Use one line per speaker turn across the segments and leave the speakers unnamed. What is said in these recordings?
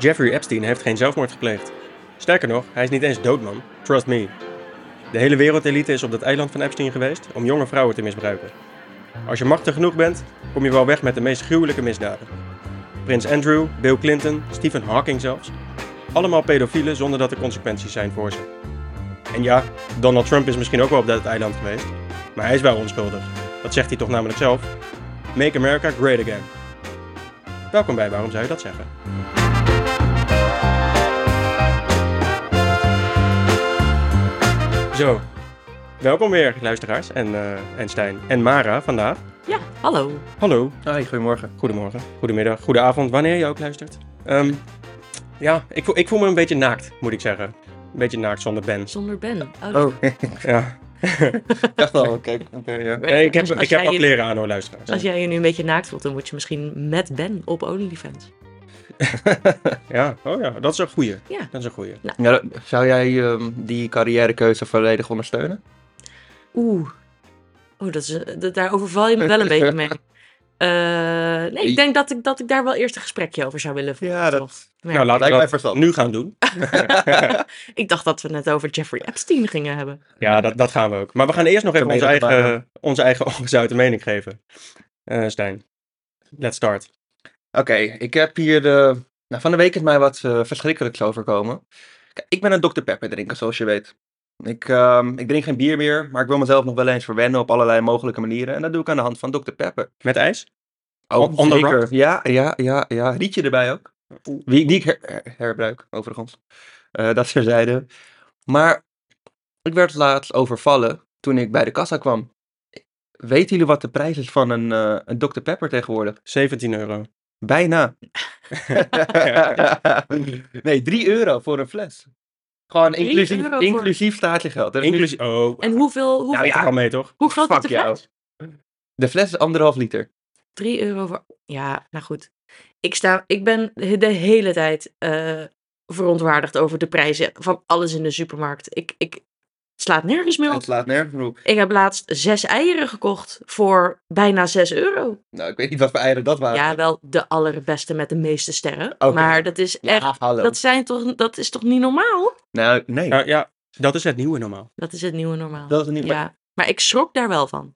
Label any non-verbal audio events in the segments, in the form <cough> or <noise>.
Jeffrey Epstein heeft geen zelfmoord gepleegd. Sterker nog, hij is niet eens doodman. Trust me. De hele wereldelite is op dat eiland van Epstein geweest om jonge vrouwen te misbruiken. Als je machtig genoeg bent, kom je wel weg met de meest gruwelijke misdaden. Prins Andrew, Bill Clinton, Stephen Hawking zelfs. Allemaal pedofielen zonder dat er consequenties zijn voor ze. En ja, Donald Trump is misschien ook wel op dat eiland geweest. Maar hij is wel onschuldig. Dat zegt hij toch namelijk zelf. Make America Great Again. Welkom bij Waarom Zou Je Dat Zeggen? Zo, welkom weer luisteraars en, eh, en Stijn en Mara vandaag.
Ja, hallo.
Hallo,
Hoi, goedemorgen.
goedemorgen, goedemiddag, goedenavond, wanneer je ook luistert. Ehm, ja, ik voel, ik voel me een beetje naakt, moet ik zeggen. Een beetje naakt zonder Ben.
Zonder Ben. Oh,
Oh, ik
Ja.
dacht al, oké. oké, ja.
Nee, ik heb,
dus als,
ik
als
heb
jij je-
afleren aan hoor, luisteraars.
Als jij je nu een beetje naakt voelt, dan word je misschien met Ben op OnlyFans.
Ja, oh ja, dat is een goeie.
Ja.
Dat is een goeie.
Ja, dat- zou jij ehm, die carrièrekeuze volledig ondersteunen?
Oeh. Oh, dat is, dat, daar overval je me wel een beetje mee. Eh, nee, ik denk dat ik, dat ik daar wel eerst een gesprekje over zou willen voeren. toch? Ja.
nou, laten
Lijkt mij
we dat
verstandig.
nu gaan doen.
Ah. Ik dacht dat we het net over Jeffrey Epstein gingen hebben.
Ja, dat, dat gaan we ook. Maar we gaan eerst nog even
ben
onze
je dat
eigen, onze eigen <laughs> ongezouten mening geven. Eh, Stijn, let's start.
Oké, ik heb hier de... Nou, van de week is mij wat eh, verschrikkelijks overkomen. Kijk, ik ben een Dr. Pepper drinker, zoals je weet. Ik, ehm, ik drink geen bier meer, maar ik wil mezelf nog wel eens verwennen op allerlei mogelijke manieren. En dat doe ik aan de hand van Dr. Pepper.
Met ijs? On-
Oh,
on the
zeker.
rock?
Ja, ja, ja, ja. Rietje erbij ook. Wie, die ik her- her- herbruik, overigens. Eh, dat terzijde. Maar ik werd laatst overvallen toen ik bij de kassa kwam. Weten jullie wat de prijs is van een, eh, een Dr. Pepper tegenwoordig?
17
<laughs>
euro.
<laughs>
Bijna. nee, 3 euro voor een fles. Gewoon
Drie
inclusief,
euro voor-
inclusief statiegeld. Dat is dus- nu-
Inclusief. Oh,
En hoeveel, hoeveel,
Nou ja,
al mee toch?
hoe groot is
fuck
de
jou.
fles?
De fles is anderhalf liter.
3 euro voor... Ja, nou goed. Ik, sta, ik ben de hele tijd eh, verontwaardigd over de prijzen van alles in de supermarkt. Ik, ik het slaat nergens meer op.
Het slaat nergens op.
Ik heb laatst zes eieren gekocht voor bijna 6 euro.
Nou, ik weet niet wat voor eieren dat waren.
Ja, wel de allerbeste met de meeste sterren.
Oké.
Maar dat is
Ja,
echt...
hallo.
Dat, zijn toch, dat is toch niet normaal?
Nou, nee.
Ja, ja, dat is het nieuwe normaal.
Dat is het nieuwe normaal.
Dat is niet. maar-
Ja, maar ik schrok daar wel van.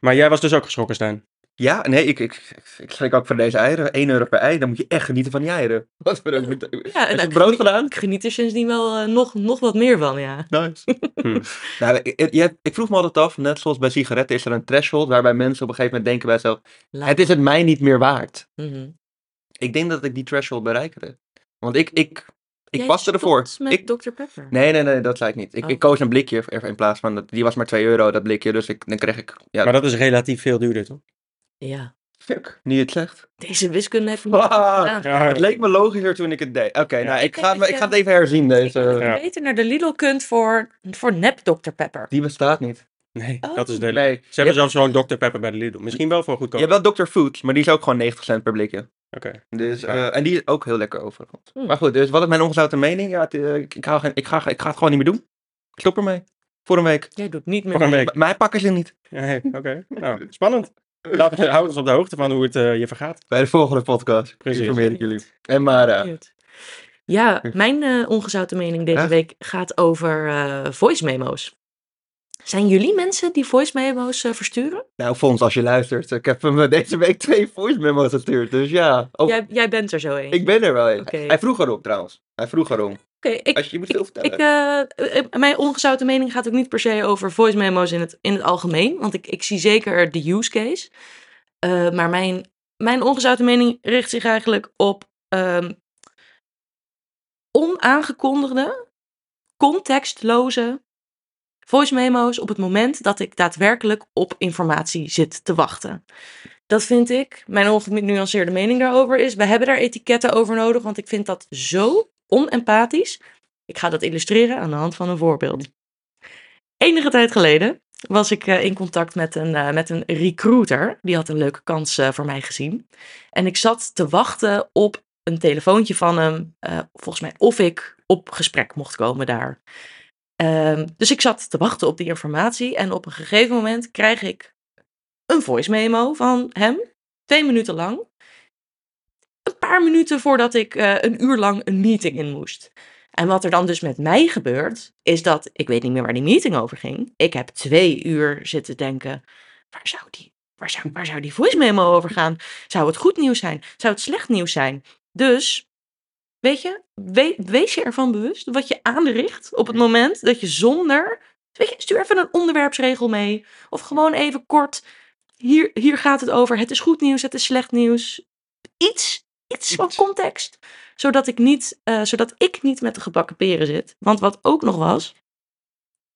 Maar jij was dus ook geschrokken, Stijn.
Ja, nee, ik, ik, ik- ik schrik ook van deze eieren. 1 euro per ei, dan moet je echt genieten van die eieren. <laughs> Wat voor een.
Ja,
Heb je
nou,
het brood gedaan?
Ik geniet er sindsdien wel eh, nog, nog wat meer van, ja.
<laughs> Nice.
Hm.
nou, ik, je hebt- ik vroeg me altijd af, net zoals bij sigaretten, is er een threshold waarbij mensen op een gegeven moment denken bij zichzelf: "Nou,
Laat-
het is het mij niet meer waard.
Mhm.
Ik denk dat ik die threshold bereikte. Want ik, ik, ik
Jij
paste ervoor.
stopt met
Ik,
Dr. Pepper.
nee, nee, nee, dat zei ik niet. Ik,
Oh.
ik koos een blikje er- in plaats van, dat, die was maar 2 euro, dat blikje. Dus ik, dan kreeg ik, ja,
Maar dat is relatief veel duurder, toch?
Ja,
fuck, nu je het zegt.
deze wiskunde heeft
<laughs>
me niet
Ah,
gedaan.
Ja,
Het leek me logischer toen ik het deed. Oké,
Ja.
nou, ik
denk
ga, het me-
dat
ik
je-
ga het even herzien,
Ik denk dat
deze.
je beter naar de Lidl kunt voor, voor nep Dr. Pepper.
Die bestaat niet.
Nee,
Oh.
dat is de...
Nee.
Ze hebben zelfs zo'n Dr. Pepper bij de Lidl. Misschien wel voor
Je
goedkoop.
hebt wel Dr. Food, maar die is ook gewoon 90 cent per blikje.
Oké.
Dus,
Ja.
eh, en die is ook heel lekker overigens.
Hmm.
Maar goed, dus wat is mijn ongezouten mening? Ja, het, eh, ik, ik, hou geen- ik, ga, ik ga het gewoon niet meer doen. Ik stop ermee. Voor een week.
Jij doet niet
Voor
meer.
een week.
M- Mij pakken ze niet.
Ja, hey, Oké,
<laughs>
nou, spannend. Laat, houd ons op de hoogte van hoe het eh, je
<laughs>
vergaat.
Bij de volgende podcast.
Precies.
Informeer ik jullie. En eh, Mara.
Benieuwd. Ja,
Hm.
mijn eh, ongezouten mening deze
Echt?
week gaat over eh, voice memo's. Zijn jullie mensen die voice memo's eh, versturen?
Nou, Fons, als je luistert. Ik heb hem eh, deze week twee voice memos gestuurd. Dus ja. Oh,
Jij, jij bent er zo een.
Ik ben er wel een.
Oké.
Hij vroeg erom trouwens. Hij vroeg erom.
Oké, ik,
Als je, je moet veel vertellen.
Ik, eh, eh, mijn ongezouten mening gaat ook niet per se over voice memo's in het, in het algemeen. Want ik, ik zie zeker de use case. Eh, maar mijn, mijn ongezouten mening richt zich eigenlijk op ehm, onaangekondigde, contextloze voice memo's op het moment dat ik daadwerkelijk op informatie zit te wachten. Dat vind ik, mijn ongenuanceerde mening daarover is, we hebben daar etiketten over nodig, want ik vind dat zo onempathisch. Ik ga dat illustreren aan de hand van een voorbeeld. Enige tijd geleden was ik eh, in contact met een, eh, met een recruiter. Die had een leuke kans eh, voor mij gezien. En ik zat te wachten op een telefoontje van hem. eh, volgens mij of ik op gesprek mocht komen daar. Ehm, dus ik zat te wachten op die informatie. En op een gegeven moment krijg ik een voice memo van hem. Twee minuten lang. Een paar paar minuten voordat ik eh, een uur lang een meeting in moest. En wat er dan dus met mij gebeurt, is dat ik weet niet meer waar die meeting over ging. Ik heb twee uur zitten denken: waar zou die, waar zou, waar zou die voice memo over gaan? Zou het goed nieuws zijn? Zou het slecht nieuws zijn? Dus, weet je, we- wees je ervan bewust wat je aanricht op het moment dat je zonder. Weet je, stuur even een onderwerpsregel mee. Of gewoon even kort. Hier, hier gaat het over. Het is goed nieuws, het is slecht nieuws. Iets, iets van
Iets.
context. Zodat ik niet, eh, zodat ik niet met de gebakken peren zit. Want wat ook nog was.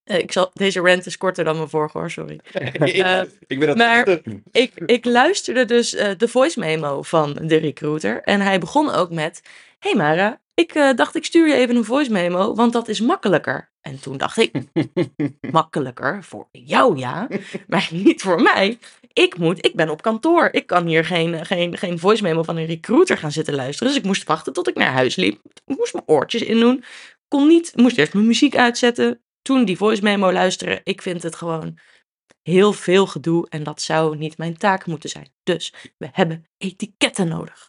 eh, ik zal, deze rant is korter dan mijn vorige hoor, sorry. Eh,
ik ben dat
maar- ik, ik luisterde dus eh, de voice memo van de recruiter. En hij begon ook met: Hey Mara, ik eh, dacht ik stuur je even een voice memo, want dat is makkelijker. En toen dacht ik: Makkelijker voor jou ja, maar niet voor mij. Ik moet, ik ben op kantoor. Ik kan hier geen, geen, geen voice memo van een recruiter gaan zitten luisteren. Dus ik moest wachten tot ik naar huis liep. Ik moest mijn oortjes indoen. Kon niet, moest eerst mijn muziek uitzetten. Toen die voice memo luisteren. Ik vind het gewoon heel veel gedoe en dat zou niet mijn taak moeten zijn. Dus we hebben etiketten nodig.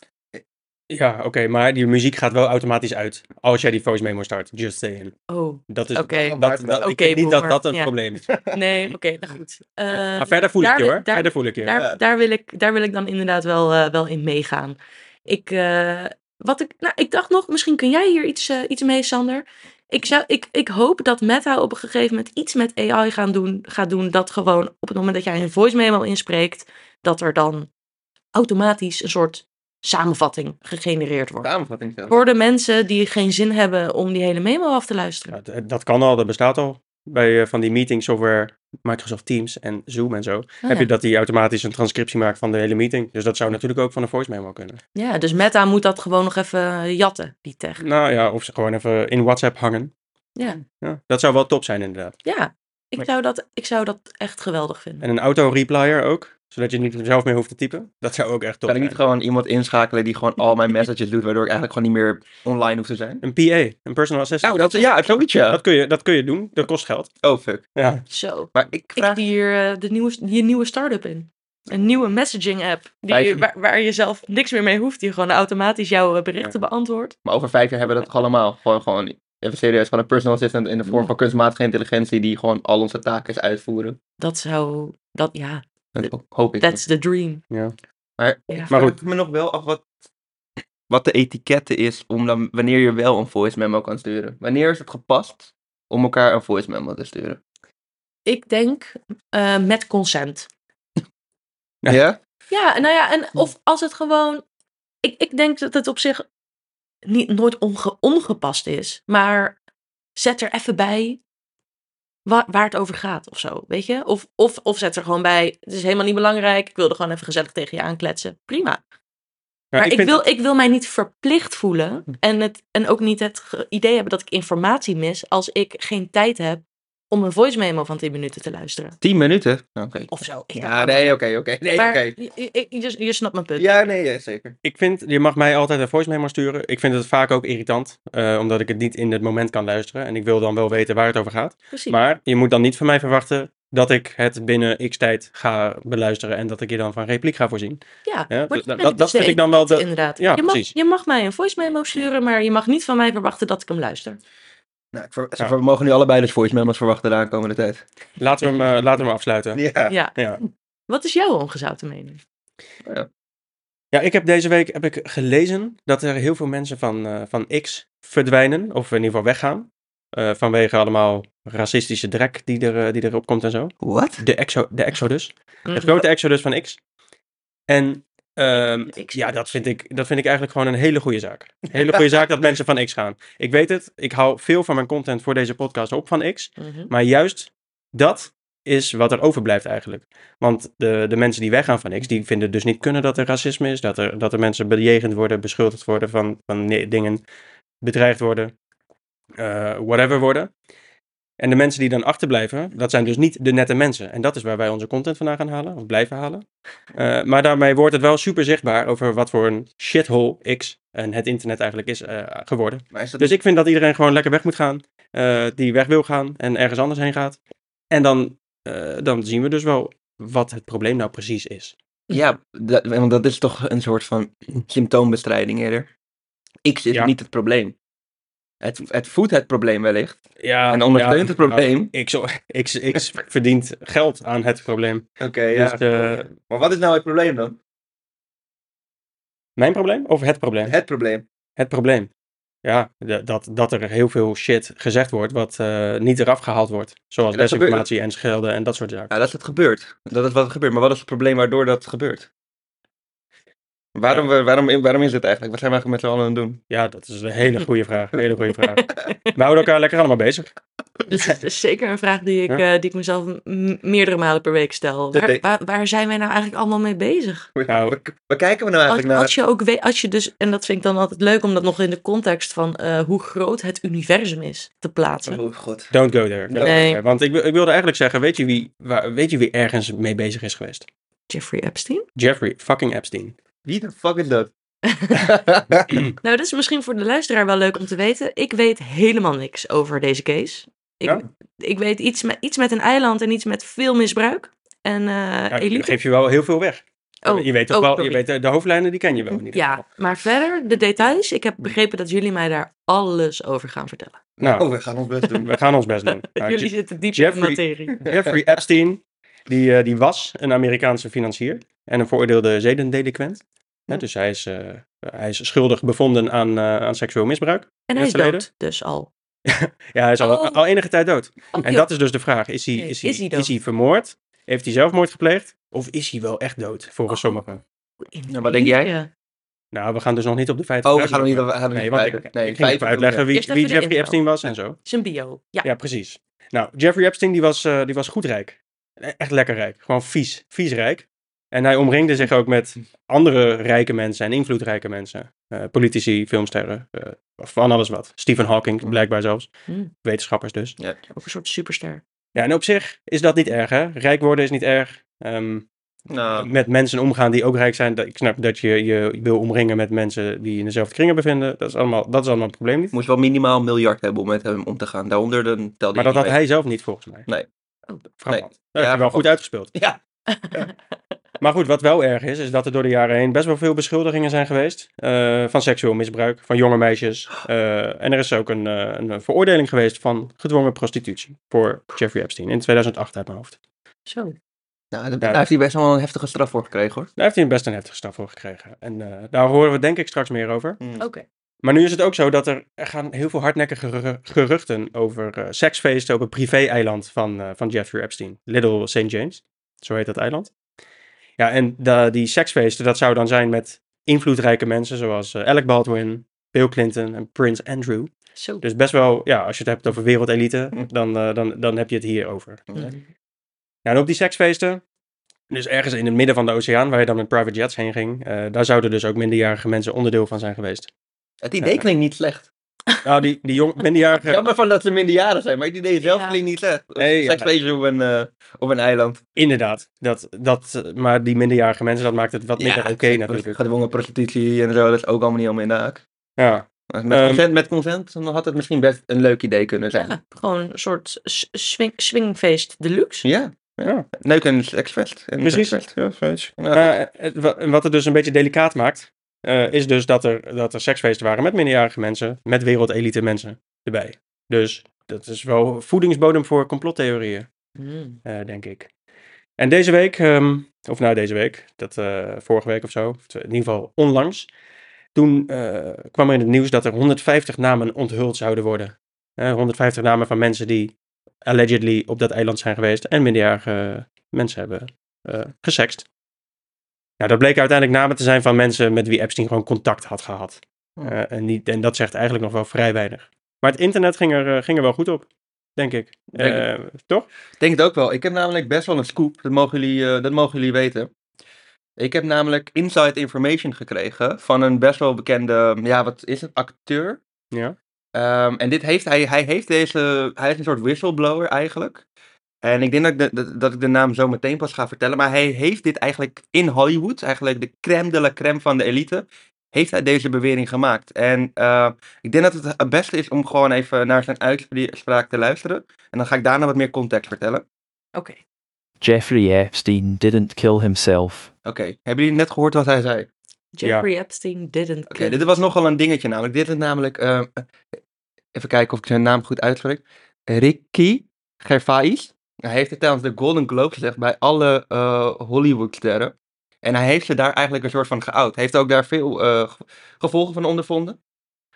Ja, oké, maar die muziek gaat wel automatisch uit als jij die voice memo start. Just saying.
Oh,
Dat is.
Oké.
dat, dat, ik
Oké,
denk niet dat
boomer.
dat een
Ja.
probleem is.
<laughs> nee, oké, nou
<laughs>
goed. Eh,
Maar verder eh. voel ik
daar-
je hoor.
daar-
verder voel ik je.
daar, daar, wil ik, daar wil ik dan inderdaad wel, eh, wel in meegaan. Ik, eh, wat ik, nou, ik dacht nog, misschien kun jij hier iets, eh, iets mee, Sander. Ik, zou, ik, ik hoop dat Meta op een gegeven moment iets met AI gaan doen, gaat doen. Dat gewoon op het moment dat jij een voice memo inspreekt, dat er dan automatisch een soort samenvatting gegenereerd wordt.
Samenvatting zelf.
Voor de mensen die geen zin hebben om die hele memo af te luisteren.
Ja, d- eh, dat kan al, dat bestaat al. Bij eh, van die meetings over Microsoft Teams en Zoom en zo.
Ah,
heb
ja.
je dat die automatisch een transcriptie maakt van de hele meeting. Dus dat zou natuurlijk ook van een voice memo kunnen.
Ja, dus Meta moet dat gewoon nog even eh, jatten, die tech.
Nou ja, of ze gewoon even in WhatsApp hangen.
Ja,
Ja, dat zou wel top zijn inderdaad.
ja. Ik,
Maar-
zou dat, ik zou dat echt geweldig vinden.
En een auto-replier ook. Zodat je niet zelf meer hoeft te typen. Dat zou ook echt top
Kan ik
zijn.
niet gewoon iemand inschakelen die gewoon
<laughs>
al mijn messages doet, waardoor ik eigenlijk gewoon niet meer online hoef te zijn?
Een PA, een personal assistant.
Nou, dat, ja, zoiets
dat,
ja.
kun je, dat kun je doen. Dat kost geld.
Oh, fuck.
Ja.
Zo.
Maar ik
Ik
vraag...
zie hier eh, de nieuwe, die nieuwe start-up in. Een nieuwe messaging app. Die,
Vijf-
waar, waar je zelf niks meer mee hoeft. Die gewoon automatisch jouw eh, berichten beantwoordt.
Maar over vijf jaar hebben we dat toch allemaal. Gewoon, gewoon, even serieus, gewoon een personal assistant in de vorm van kunstmatige intelligentie die gewoon al onze taken uitvoeren.
Dat zou. Dat, ja,
Dat ho- hoop ik.
that's the dream.
Maar,
Ja.
maar
Maar
goed.
goed.
Ik vraag me nog wel af wat, wat de etikette is om dan, wanneer je wel een voice memo kan sturen. Wanneer is het gepast om elkaar een voice memo te sturen?
Ik denk eh, met consent.
Ja.
Ja?
Ja, nou ja, en of als het gewoon. Ik, ik denk dat het op zich niet, nooit onge- ongepast is, maar zet er even bij waar, waar het over gaat of zo, weet je? Of, of, of zet er gewoon bij, het is helemaal niet belangrijk, ik wilde gewoon even gezellig tegen je aankletsen. Prima.
Ja,
maar ik,
vind-
wil, ik wil mij niet verplicht voelen en, het, en ook niet het ge- idee hebben dat ik informatie mis als ik geen tijd heb om een voice memo van 10 minuten te luisteren.
Tien minuten? Oké.
Of zo. Ik
Ja, nee, oké, oké. Nee, oké.
maar je, je, je- je snapt mijn punt.
Ja, nee, ja, zeker.
Ik vind, je mag mij altijd een voice memo sturen. Ik vind het vaak ook irritant, eh, omdat ik het niet in het moment kan luisteren. En ik wil dan wel weten waar het over gaat.
Precies.
Maar je moet dan niet van mij verwachten dat ik het binnen x tijd ga beluisteren en dat ik je dan van repliek ga voorzien.
Ja,
Ja, dat-
maar
dat-
ben ik
dat
dus
vind ik dan wel de-
Inderdaad.
ja,
je, mag,
precies.
je mag mij een voice memo sturen, maar je mag niet van mij verwachten dat ik hem luister.
Nou, ik ver- ze
Ja.
ver- mogen nu allebei dus voice memos verwachten de aankomende tijd.
Laten we hem, eh, laten we hem afsluiten.
Ja.
Ja.
Ja.
Wat is jouw ongezouten mening?
Ja, ik heb deze week heb ik gelezen dat er heel veel mensen van, eh, van X verdwijnen, of in ieder geval weggaan. eh, vanwege allemaal racistische drek die, er, eh, die erop komt en zo.
Wat?
De, exo, de Exodus.
Mhm.
Het grote Exodus van X. En ehm,
X.
ja, dat vind, ik, dat vind ik eigenlijk gewoon een hele goede zaak. Een hele goede zaak dat mensen van X gaan. Ik weet het, ik hou veel van mijn content voor deze podcast op van X. <laughs>
Mhm.
Maar juist dat is wat er overblijft eigenlijk. Want de, de mensen die weggaan van X, die vinden dus niet kunnen dat er racisme is. Dat er, dat er mensen bejegend worden, beschuldigd worden van, van ne- dingen, bedreigd worden, eh, whatever worden. En de mensen die dan achterblijven, dat zijn dus niet de nette mensen. En dat is waar wij onze content vandaan gaan halen, of blijven halen. Eh, maar daarmee wordt het wel super zichtbaar over wat voor een shithole X en het internet eigenlijk is eh, geworden.
Maar is dat
Dus ik vind dat iedereen gewoon lekker weg moet gaan. eh, die weg wil gaan en ergens anders heen gaat. En dan, eh, dan zien we dus wel wat het probleem nou precies is.
Ja, dat, want dat is toch een soort van symptoombestrijding eerder. X is
Ja.
niet het probleem. Het, het voedt het probleem wellicht.
Ja,
en ondersteunt het probleem.
ik, zo, <laughs> ik, ik verdient geld aan het probleem.
Oké,
Dus, eh,
Maar wat is nou het probleem dan?
mijn probleem of het probleem?
Het probleem.
Het probleem. Ja, d- dat, dat er heel veel shit gezegd wordt wat eh, niet eraf gehaald wordt. Zoals
Ja, dat gebeurt.
desinformatie en schelden en dat soort zaken.
Ja, dat is het gebeurt. Dat is wat er gebeurt. Maar wat is het probleem waardoor dat gebeurt? Waarom, we- waarom, waarom is dit eigenlijk? Wat zijn we eigenlijk met z'n allen aan het doen?
Ja, dat is een hele goede vraag. Een hele goede vraag. <laughs> We houden elkaar lekker allemaal bezig.
Dus het is zeker een vraag die ik, eh, die ik mezelf m- meerdere malen per week stel.
Dat
Waar,
denk-
waar, waar zijn wij nou eigenlijk allemaal mee bezig?
Nou,
Waar kijken we
Als,
nou eigenlijk naar?
als je ook weet, als je dus, en dat vind ik dan altijd leuk om dat nog in de context van eh, hoe groot het universum is te plaatsen.
Oh god.
don't go there. Don't go
Nee.
there. Want ik, wil- ik wilde eigenlijk zeggen, weet je, wie, waar, weet je wie ergens mee bezig is geweest?
Jeffrey Epstein.
Jeffrey fucking Epstein.
Wie de fuck is
<laughs>
dat?
Nou, dat is misschien voor de luisteraar wel leuk om te weten. Ik weet helemaal niks over deze case. Ik,
Ja.
ik weet iets met, iets met een eiland en iets met veel misbruik. En eh
Ja, ik
elite.
Nou, geef je wel heel veel weg.
Oh,
je weet toch
oh,
wel, je
sorry.
weet, eh, de hoofdlijnen die ken je wel in ieder
Ja,
geval.
maar verder, de details. Ik heb begrepen dat jullie mij daar alles over gaan vertellen.
Nou,
oh, we gaan ons
<laughs>
best doen.
we gaan ons best
<laughs>
doen. Nou,
jullie
Je-
zitten diep in de
Jeffrey-
materie.
Jeffrey Epstein, die, eh, die was een Amerikaanse financier en een veroordeelde zedendelinquent. Hè,
Hm.
dus hij is, eh, hij is schuldig bevonden aan, eh, aan seksueel misbruik.
En hij is
Jeffrey
dood, dus al.
Ja, hij is al,
Oh.
al enige tijd dood. En dat is dus de vraag. Is hij,
Oké,
is hij,
is hij
is
dood?
hij, vermoord? Heeft hij zelfmoord gepleegd? Of is hij wel echt dood, volgens
Oh.
sommigen?
Nou, wat denk jij?
Ja.
Nou, we gaan dus nog niet op de feiten
Oh, we
uit-
gaan hem niet, we gaan hem
Nee,
niet
want ik,
uitleggen.
ik ging even
feiten doen we
uitleggen wie,
Eerst
wie
even de
Jeffrey
intro.
Epstein was en zo.
Zijn bio, ja.
Ja, precies. Nou, Jeffrey Epstein die was, eh, die was goed rijk. E- Echt lekker rijk. Gewoon vies. Vies rijk. En hij omringde zich ook met andere rijke mensen en invloedrijke mensen. Eh, politici, filmsterren, eh, van alles wat. Stephen Hawking,
Mm.
blijkbaar zelfs.
Mm.
Wetenschappers dus.
niet.
Ook een soort superster.
Ja, en op zich is dat niet erg, hè? Rijk worden is niet erg. Ehm,
Ja. Nou,
Met mensen omgaan die ook rijk zijn. Dat- Ik snap dat je je wil omringen met mensen die in dezelfde kringen bevinden. Dat is allemaal, dat is allemaal een probleem niet.
moest wel minimaal een miljard hebben om met hem om te gaan. Daaronder dan telde
Maar dat
je
had
niet
hij zelf niet, volgens mij.
Nee.
Oh.
Frappant. Dat
Ja,
heb je wel
frappant.
goed uitgespeeld.
mee. Ja.
Maar goed, wat wel erg is, is dat er door de jaren heen best wel veel beschuldigingen zijn geweest. eh, van seksueel misbruik, van jonge meisjes. eh, en er is ook een, eh, een veroordeling geweest van gedwongen prostitutie. Voor Jeffrey Epstein in 2008 uit mijn hoofd.
Zo.
Nou, daar-
Ja.
daar heeft hij best wel een heftige straf voor gekregen hoor.
Daar heeft hij best een heftige straf voor gekregen. En eh, daar horen we denk ik straks meer over.
Mm. Oh.
Oké.
Maar nu is het ook zo dat er, er gaan heel veel hardnekkige geru- geruchten over eh, seksfeesten op een privé-eiland van, eh, van Jeffrey Epstein. Little St. James, zo heet dat eiland. Ja, en da- die seksfeesten, dat zou dan zijn met invloedrijke mensen zoals eh, Alec Baldwin, Bill Clinton en Prince Andrew.
Zo.
Dus best wel, ja, als je het hebt over wereldelite,
Hm.
dan, eh, dan, dan heb je het hier over.
Ja.
Nou, en op die seksfeesten, dus ergens in het midden van de oceaan, waar je dan met private jets heen ging, eh, daar zouden dus ook minderjarige mensen onderdeel van zijn geweest.
Het idee klinkt niet slecht.
Nou, die, die jong,
<laughs>
minderjarige...
Jammer van dat ze minderjarigen zijn, maar het idee zelf
Ja.
klinkt niet slecht.
Nee, ja.
Seksfeestje op, een, eh, op een eiland.
Inderdaad, dat, dat, eh, maar die minderjarige mensen, dat maakt het wat minder oké
<laughs>
natuurlijk.
Gedwongen prostitutie en zo, dat is ook allemaal niet allemaal in de haak.
Ja,
Met,
Ehm.
consent, met consent dan had het misschien best een leuk idee kunnen zijn. Ja.
Ja, gewoon een soort s- swing, swingfeest deluxe.
Ja.
Leuk en seksfest. En
Precies.
seksfeest. Ja, feest. Ja,
maar het, wa- wat het dus een beetje delicaat maakt, eh, is dus dat er, dat er seksfeesten waren met minderjarige mensen, met wereldelite mensen erbij. Dus dat is wel voedingsbodem voor complottheorieën.
Mm.
eh, denk ik. En deze week, ehm, of nou deze week, dat, eh, vorige week of zo, of in ieder geval onlangs, toen eh, kwam er in het nieuws dat er 150 namen onthuld zouden worden. Eh, 150 namen van mensen die allegedly op dat eiland zijn geweest en minderjarige mensen hebben eh gesext. Nou, dat bleken uiteindelijk namen te zijn van mensen met wie Epstein gewoon contact had gehad.
Hmm.
Eh, en, niet, en dat zegt eigenlijk nog wel vrij weinig. Maar het internet ging er, eh, ging er wel goed op, denk ik.
Denk ik.
Eh, toch?
Ik denk het ook wel. Ik heb namelijk best wel een scoop. Dat mogen jullie, eh, dat mogen jullie weten. Ik heb namelijk inside information gekregen van een best wel bekende, ja, wat is het, acteur.
Ja.
Ehm, en dit heeft hij, hij heeft deze, hij is een soort whistleblower eigenlijk. En ik denk dat ik de, dat, dat ik de naam zo meteen pas ga vertellen. Maar hij heeft dit eigenlijk in Hollywood, eigenlijk de crème de la crème van de elite, heeft hij deze bewering gemaakt. En eh, ik denk dat het het beste is om gewoon even naar zijn uitspraak te luisteren. En dan ga ik daarna wat meer context vertellen.
Oké.
Jeffrey Epstein didn't kill himself.
Oké, hebben jullie net gehoord wat hij zei? Oké,
Jeffrey Epstein didn't kill.
dit was nogal een dingetje namelijk. Dit is namelijk, eh, even kijken of ik zijn naam goed uitspreek. Ricky Gervais. Hij heeft het tijdens de Golden Globe gezegd bij alle eh, Hollywoodsterren. En hij heeft ze daar eigenlijk een soort van geout. Hij heeft ook daar veel eh, ge- gevolgen van ondervonden.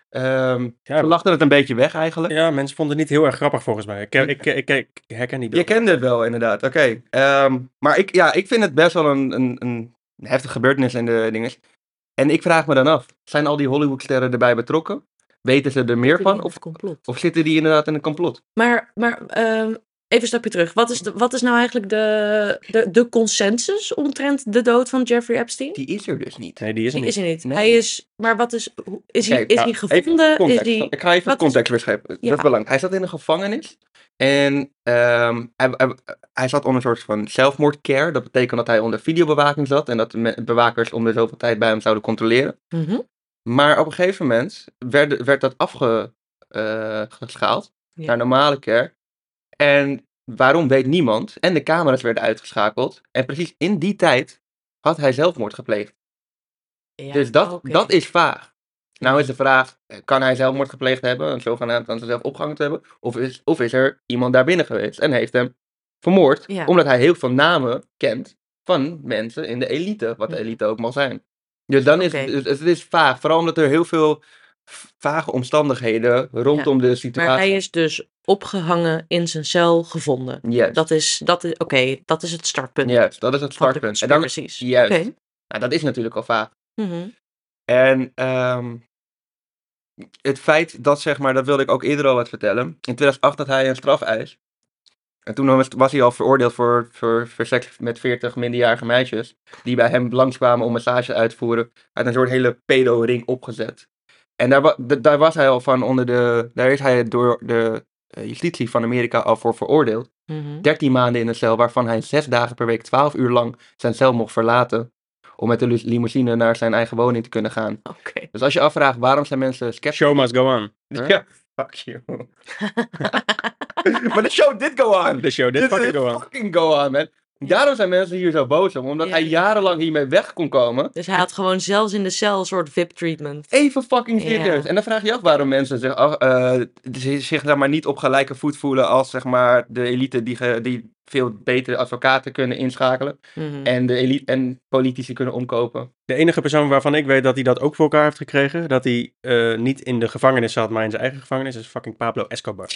Ehm
Ja,
ze lachten het een beetje weg eigenlijk.
ja, mensen vonden het niet heel erg grappig volgens mij. Ik, ik, ik, ik, ik herken die
Je
beelden.
kende het wel, inderdaad. Oké. ehm, maar ik, ja, ik vind het best wel een, een, een heftige gebeurtenis en de dingen. En ik vraag me dan af, zijn al die Hollywoodsterren erbij betrokken? Weten ze er meer van? Of,
complot.
of zitten die inderdaad in een complot?
Maar, maar ehm, even een stapje terug. Wat is, de, wat is nou eigenlijk de, de, de consensus omtrent de dood van Jeffrey Epstein?
Die is er dus niet.
Nee, die is er
Die
niet.
is hij niet.
Nee.
Hij is, maar wat is, hoe- is hij,
Kijk,
is
ja,
hij
even
gevonden? Is
Context.
die,
Ik ga even
wat is-
context beschrijven.
Ja.
Dat is belangrijk. Hij zat in een gevangenis. En ehm, hij, hij, hij zat onder een soort van zelfmoordcare. Dat betekent dat hij onder videobewaking zat. En dat de me- bewakers om de zoveel tijd bij hem zouden controleren.
Mhm,
Maar op een gegeven moment werd, werd dat afgeschaald
Ja.
naar normale care. En waarom weet niemand. En de camera's werden uitgeschakeld. En precies in die tijd had hij zelfmoord gepleegd.
ja,
dus dat,
oké.
dat is vaag. Nou is de vraag, eh, kan hij zelfmoord gepleegd hebben? En zogenaamd aan zichzelf opgehangen te hebben? Of is, of is er iemand daar binnen geweest en heeft hem vermoord?
Ja.
Omdat hij heel veel namen kent van mensen in de elite. Wat de
Ja.
elite ook mag zijn. Dus dan is het-
Oké.
dus het is vaag. Vooral omdat er heel veel v- vage omstandigheden rondom de
Maar
situatie...
hij is dus opgehangen in zijn cel gevonden.
Juist,
Dat is, dat is oké, dat is het startpunt.
juist, dat is het
van de
startpunt. En dan,
conspiracies.
juist.
Oké.
nou, dat is natuurlijk al vaag.
mhm.
En ehm, het feit dat, zeg maar, dat wilde ik ook eerder al wat vertellen. In 2008 had hij een strafeis. En toen was, was hij al veroordeeld voor, voor, voor seks met 40 minderjarige meisjes. Die bij hem langskwamen om massage uit te voeren. Uit een soort hele pedo-ring opgezet. En daar, wa- d- daar was hij al van onder de. Daar is hij door de eh, justitie van Amerika al voor veroordeeld.
mhm.
13 maanden in een cel, waarvan hij 6 dagen per week 12 uur lang zijn cel mocht verlaten. Om met de lu- limousine naar zijn eigen woning te kunnen gaan.
Oké.
Dus als je afvraagt waarom zijn mensen sceptisch...
Show must go on.
Ja, fuck you. <laughs> maar de show did go on.
The show did
Dit
fucking
did
go on.
fucking go on, man. Daarom zijn mensen hier zo boos om. Omdat
Ja.
hij jarenlang hiermee weg kon komen.
Dus hij had gewoon zelfs in de cel een soort VIP-treatment.
Even fucking
Ja.
serieus. En dan vraag je je af waarom mensen zich, af- eh, zich, zich zeg maar, niet op gelijke voet voelen als zeg maar, de elite die, ge- die veel betere advocaten kunnen inschakelen.
Mhm.
en de elite en politici kunnen omkopen. <laughs>
De enige persoon waarvan ik weet dat hij dat ook voor elkaar heeft gekregen, dat hij eh, niet in de gevangenis zat, maar in zijn eigen gevangenis, is fucking Pablo Escobar.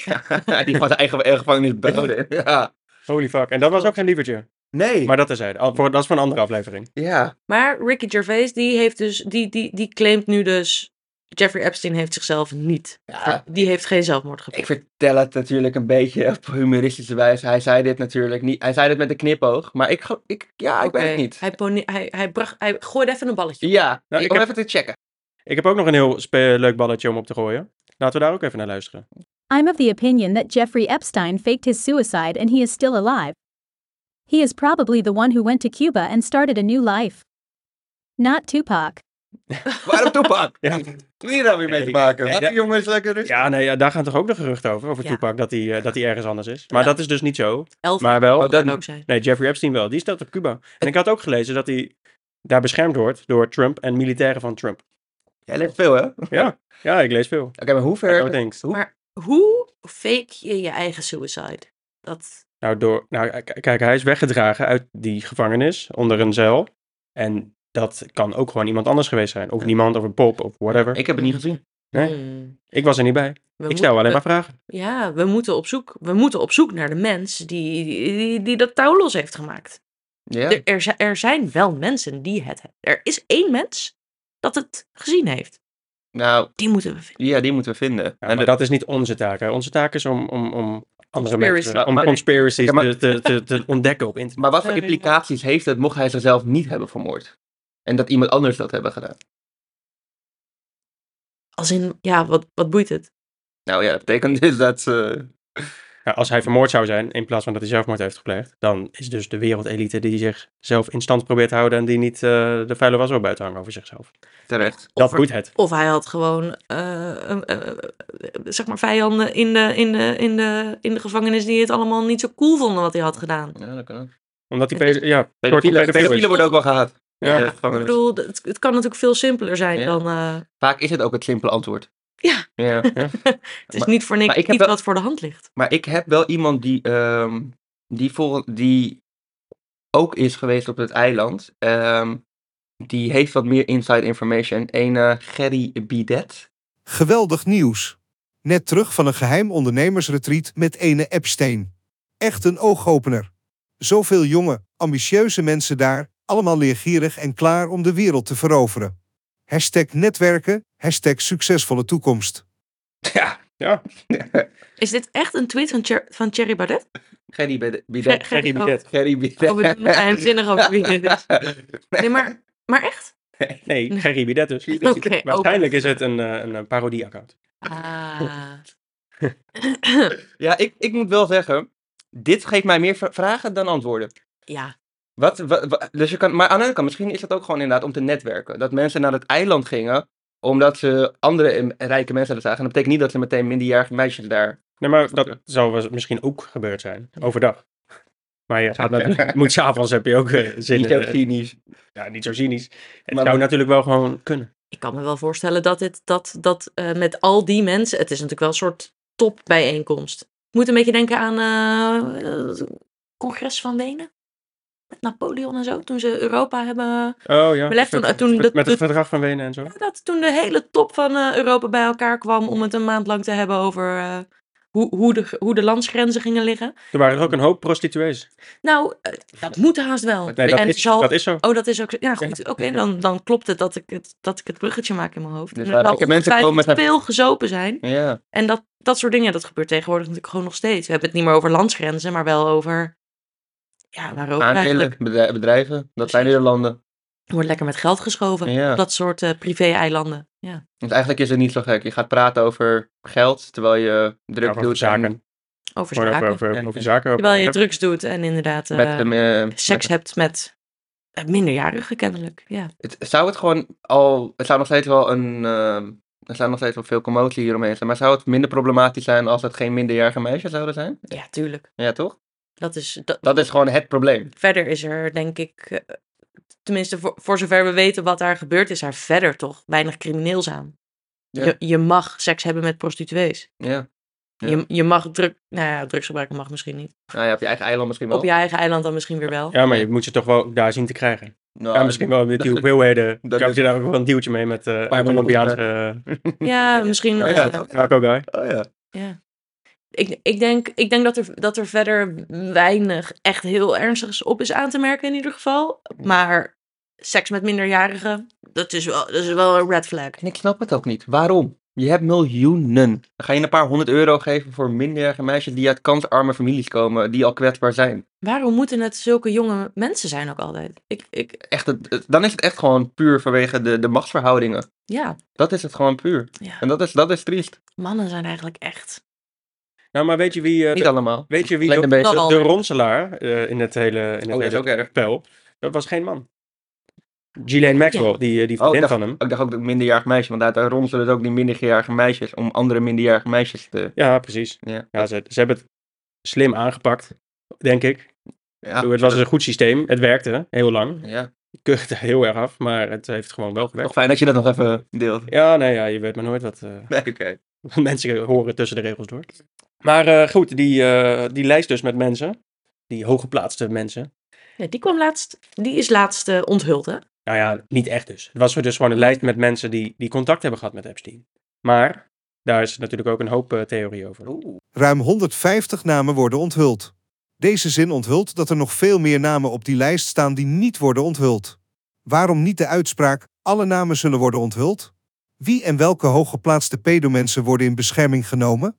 die van zijn eigen eigen
<laughs>
gevangenis behouden. Ja.
Holy fuck. En dat was ook zijn lievertje.
Nee.
Maar dat is hij. Al- voor- Dat is voor een andere aflevering.
ja.
Maar Ricky Gervais, die, heeft dus, die, die, die claimt nu dus... Jeffrey Epstein heeft zichzelf niet.
ja.
Die heeft geen zelfmoord
Ik
gepleegd.
vertel het natuurlijk een beetje <laughs> op humoristische wijze. Hij zei dit natuurlijk niet. Hij zei dit met een knipoog. Maar ik, gel- ik ja, Ah, ik weet
Oké,
het niet.
Hij, pone- hij, hij, bracht, hij gooide even een balletje.
Ja,
Nou, ik
ik om
heb-
even te checken.
Ik heb ook nog een heel spe- leuk balletje om op te gooien. Laten we daar ook even naar luisteren.
I'm of the opinion that Jeffrey Epstein faked his suicide and he is still alive. He is probably the one who went to Cuba and started a new life. Not Tupac.
Waarom
<laughs>
Toepak?
Ja.
Moet je daar weer mee te maken?
Ja.
Laat die jongens lekker rustig.
Ja, nee, ja, daar gaan toch ook de geruchten over, over
Ja.
Tupac, dat hij, eh, dat hij ergens anders is. Maar
Ja.
dat is dus niet zo.
Elf
Maar wel,
Oh, dat-
kan ook zijn.
nee, Jeffrey Epstein wel. Die staat op Cuba. En ik had ook gelezen dat hij daar beschermd wordt door Trump en militairen van Trump.
Jij leest veel, hè? Oké,
Ja, ja ik lees veel.
maar hoe
Oh,
ver...
thanks.
Hoe-
Maar hoe fake je je eigen suicide? Dat...
Nou, door, nou, k- kijk, hij is weggedragen uit die gevangenis onder een zeil. En dat kan ook gewoon iemand anders geweest zijn. Of
Ja.
niemand, of een pop, of whatever. Ik,
Ik heb het niet gezien.
Nee.
Hmm.
was er niet bij.
We
ik stel
moeten-
alleen maar vragen.
Ja, we moeten, op zoek, we moeten op zoek naar de mens die, die, die dat touw los heeft gemaakt.
Ja.
Er, er, zi- er zijn wel mensen die het hebben. Er is één mens dat het gezien heeft.
Nou,
Die moeten we vinden.
ja, die moeten we vinden.
Ja,
En
maar
de-
dat is niet onze taak. Hè. Onze taak is om, om, om andere
Conspiracy.
mensen, om
Maar-
conspiracies
Ja,
te,
maar-
te, te, te ontdekken op internet.
Maar wat voor
Nee, nee,
implicaties heeft het mocht hij zichzelf niet hebben vermoord? En dat iemand anders dat hebben gedaan?
Als in, ja, wat, wat boeit het?
Nou ja, dat betekent dus dat ze...
Ja, als hij vermoord zou zijn, in plaats van dat hij zelfmoord heeft gepleegd, dan is dus de wereldelite die zichzelf in stand probeert te houden en die niet eh, de vuile was wel buiten hangen over zichzelf.
Terecht.
Dat
er-
boeit het.
Of hij had gewoon, eh, een- eh, eh, zeg maar, vijanden in de, in, de, in, de, in de gevangenis die het allemaal niet zo cool vonden wat hij had gedaan.
Ja, dat kan ook.
Omdat die
Het is-
pedo- ja, een soort van
Pedofielen,
pedofiel is.
pedofielen worden ook wel gehaat.
Ja.
Eh,
Ik
gevangenen.
bedoel, het, het kan natuurlijk veel simpeler zijn
Ja.
dan... eh,
Vaak is het ook het simpele antwoord.
Ja.
ja.
het is
Maar-
niet voor niks
maar ik heb
iets
wel-
wat voor de hand ligt.
Maar ik heb wel iemand die, ehm, die, vol- die ook is geweest op het eiland. Ehm, die heeft wat meer inside information. Een eh, Gerry Bidet.
Geweldig nieuws. Net terug van een geheim ondernemersretreat met ene Epstein. Echt een oogopener. Zoveel jonge, ambitieuze mensen daar, allemaal leergierig en klaar om de wereld te veroveren. Hashtag netwerken, hashtag succesvolle toekomst.
Ja.
Is dit echt een tweet van, Cher- van Thierry
<laughs>
Baudet?
Gerry Bede-
Ger- Gerry
Bidet.
Gerrie
oh.
Bidet.
Gerry Bidet.
Oh, we doen het geheimzinnig over wie dit
<laughs>
is. Nee, maar, maar echt?
Nee, Gerrie Bidet dus. <laughs>
Oké,
oké.
Waarschijnlijk is het een, eh, een eh, parodie-account.
Ah.
Ja, ik, ik moet wel zeggen. Dit geeft mij meer vra- vragen dan antwoorden.
<laughs> ja,
Wat, wa- wa- dus je kan, maar aan de andere kant, misschien is dat ook gewoon inderdaad om te netwerken. Dat mensen naar het eiland gingen omdat ze andere em- rijke mensen daar zagen. En dat betekent niet dat ze meteen minderjarige meisjes daar.
Nee, maar dat zou wel eens- misschien ook gebeurd zijn. Overdag. Maar je gaat natuurlijk, moet s'avonds heb je ook eh, zin
Niet
in,
heel
eh,
cynisch.
Ja, niet zo cynisch. Het
Maar
zou
we-
natuurlijk wel gewoon kunnen.
ik kan me wel voorstellen dat, dit, dat, dat eh, met al die mensen... Het is natuurlijk wel een soort topbijeenkomst. Ik moet een beetje denken aan eh, het congres van Wenen. Met Napoleon en zo. Toen ze Europa hebben...
Oh ja.
We legden
Met-
toen
met,
dat-
met het
dat-
verdrag van Wenen en zo.
Dat toen de hele top van eh, Europa bij elkaar kwam... om het een maand lang te hebben over... eh, hoe, hoe, de, hoe de landsgrenzen gingen liggen.
Er waren er ook een hoop prostituees.
Nou, eh, dat moet haast wel.
Nee, dat,
en
is,
zal-
dat is zo.
Oh, dat is ook. zo- Ja, goed. Oké, dan, dan klopt het dat ik het, dat ik het bruggetje maak in mijn hoofd.
Dus
En
waar
dat
rijke mensen
ongetwijfeld
komen met-
veel gezopen zijn.
Ja.
En dat, dat soort dingen, dat gebeurt tegenwoordig natuurlijk gewoon nog steeds. We hebben het niet meer over landsgrenzen, maar wel over. Ja, waarover
Aandelen,
eigenlijk.
bedrij- bedrijven. Dat zijn de landen.
Er wordt lekker met geld geschoven.
Ja.
Dat soort eh, privé-eilanden. Ja.
Want eigenlijk is het niet zo gek. Je gaat praten over geld terwijl je
Ja,
druk
over
doet aan-
zaken.
Over
Gewoon over,
zaken.
over,
Ja.
over zaken. over-
Terwijl je drugs doet en inderdaad
Met,
eh,
hem, eh,
seks hebt met eh, minderjarigen, kennelijk. Ja.
Het, zou het gewoon al. Het zou nog steeds wel een. ehm, er zou nog steeds wel veel commotie hieromheen zijn. Maar zou het minder problematisch zijn als het geen minderjarige meisjes zouden zijn?
ja, tuurlijk.
Ja, toch?
Dat is, dat,
Dat is gewoon het probleem.
verder is er, denk ik, eh, tenminste voor, voor zover we weten wat daar gebeurd is, daar verder toch weinig crimineels aan.
Ja.
Je, je mag seks hebben met prostituees.
Ja. Ja.
Je, je mag druk, nou ja, drugs gebruiken mag misschien niet.
Nou ja, op je eigen eiland misschien wel.
Op je eigen eiland dan misschien weer wel.
Ja, maar je moet ze toch wel daar zien te krijgen.
Nou,
Ja, misschien wel met die hoeveelheden.
<laughs> dat-
Kan je daar ook wel een deeltje mee met eh
miljoen
Colombiaanse... eh, <laughs>
Ja, misschien.
Ja,
eh,
ja.
Narco guy.
Oh ja.
Ik, ik denk, ik denk dat, er, dat er verder weinig echt heel ernstigs op is aan te merken in ieder geval. Maar seks met minderjarigen, dat is wel, dat is wel een red flag.
En ik snap het ook niet. Waarom? Je hebt miljoenen. Dan ga je een paar honderd euro geven voor minderjarige meisjes die uit kansarme families komen, die al kwetsbaar zijn.
Waarom moeten het zulke jonge mensen zijn ook altijd? Ik, ik,
Echt, het- het- dan is het echt gewoon puur vanwege de, de machtsverhoudingen.
Ja,
Dat is het gewoon puur.
Ja.
En dat is, dat is triest.
mannen zijn eigenlijk echt.
Nou, maar weet je wie... eh,
Niet allemaal.
weet je wie
Kleine
de,
beetje.
de,
Wel
de
al.
ronselaar eh, in het hele, in het
Oh, dat is
hele
ook erg.
spel, dat was geen man. Ghislaine Maxwell, die, eh, die
Oh, ik
vriendin
dacht,
van hem.
ik dacht ook dat minderjarig meisje, want daar daar ronselen het ook die minderjarige meisjes om andere minderjarige meisjes te...
Ja, precies.
Ja.
Ja, ze, ze hebben het slim aangepakt, denk ik.
Ja.
Ik bedoel, het was een goed systeem. Het werkte heel lang.
Ja.
Ik kuchte heel erg af, maar het heeft gewoon wel
Toch
gewerkt.
fijn dat je dat nog even deelt.
Ja, nee, ja, je weet maar nooit wat eh, <laughs>
Nee, oké.
wat mensen horen tussen de regels door. Maar eh, goed, die, eh, die lijst dus met mensen, die hooggeplaatste mensen.
Ja, die kwam laatst, die is laatst eh, onthuld, hè?
Nou ja, niet echt dus. Het was dus gewoon een lijst met mensen die, die contact hebben gehad met Epstein. Maar daar is natuurlijk ook een hoop eh, theorie over.
Ruim 150 namen worden onthuld. Deze zin onthult dat er nog veel meer namen op die lijst staan die niet worden onthuld. Waarom niet de uitspraak, alle namen zullen worden onthuld? Wie en welke hooggeplaatste pedomensen worden in bescherming genomen?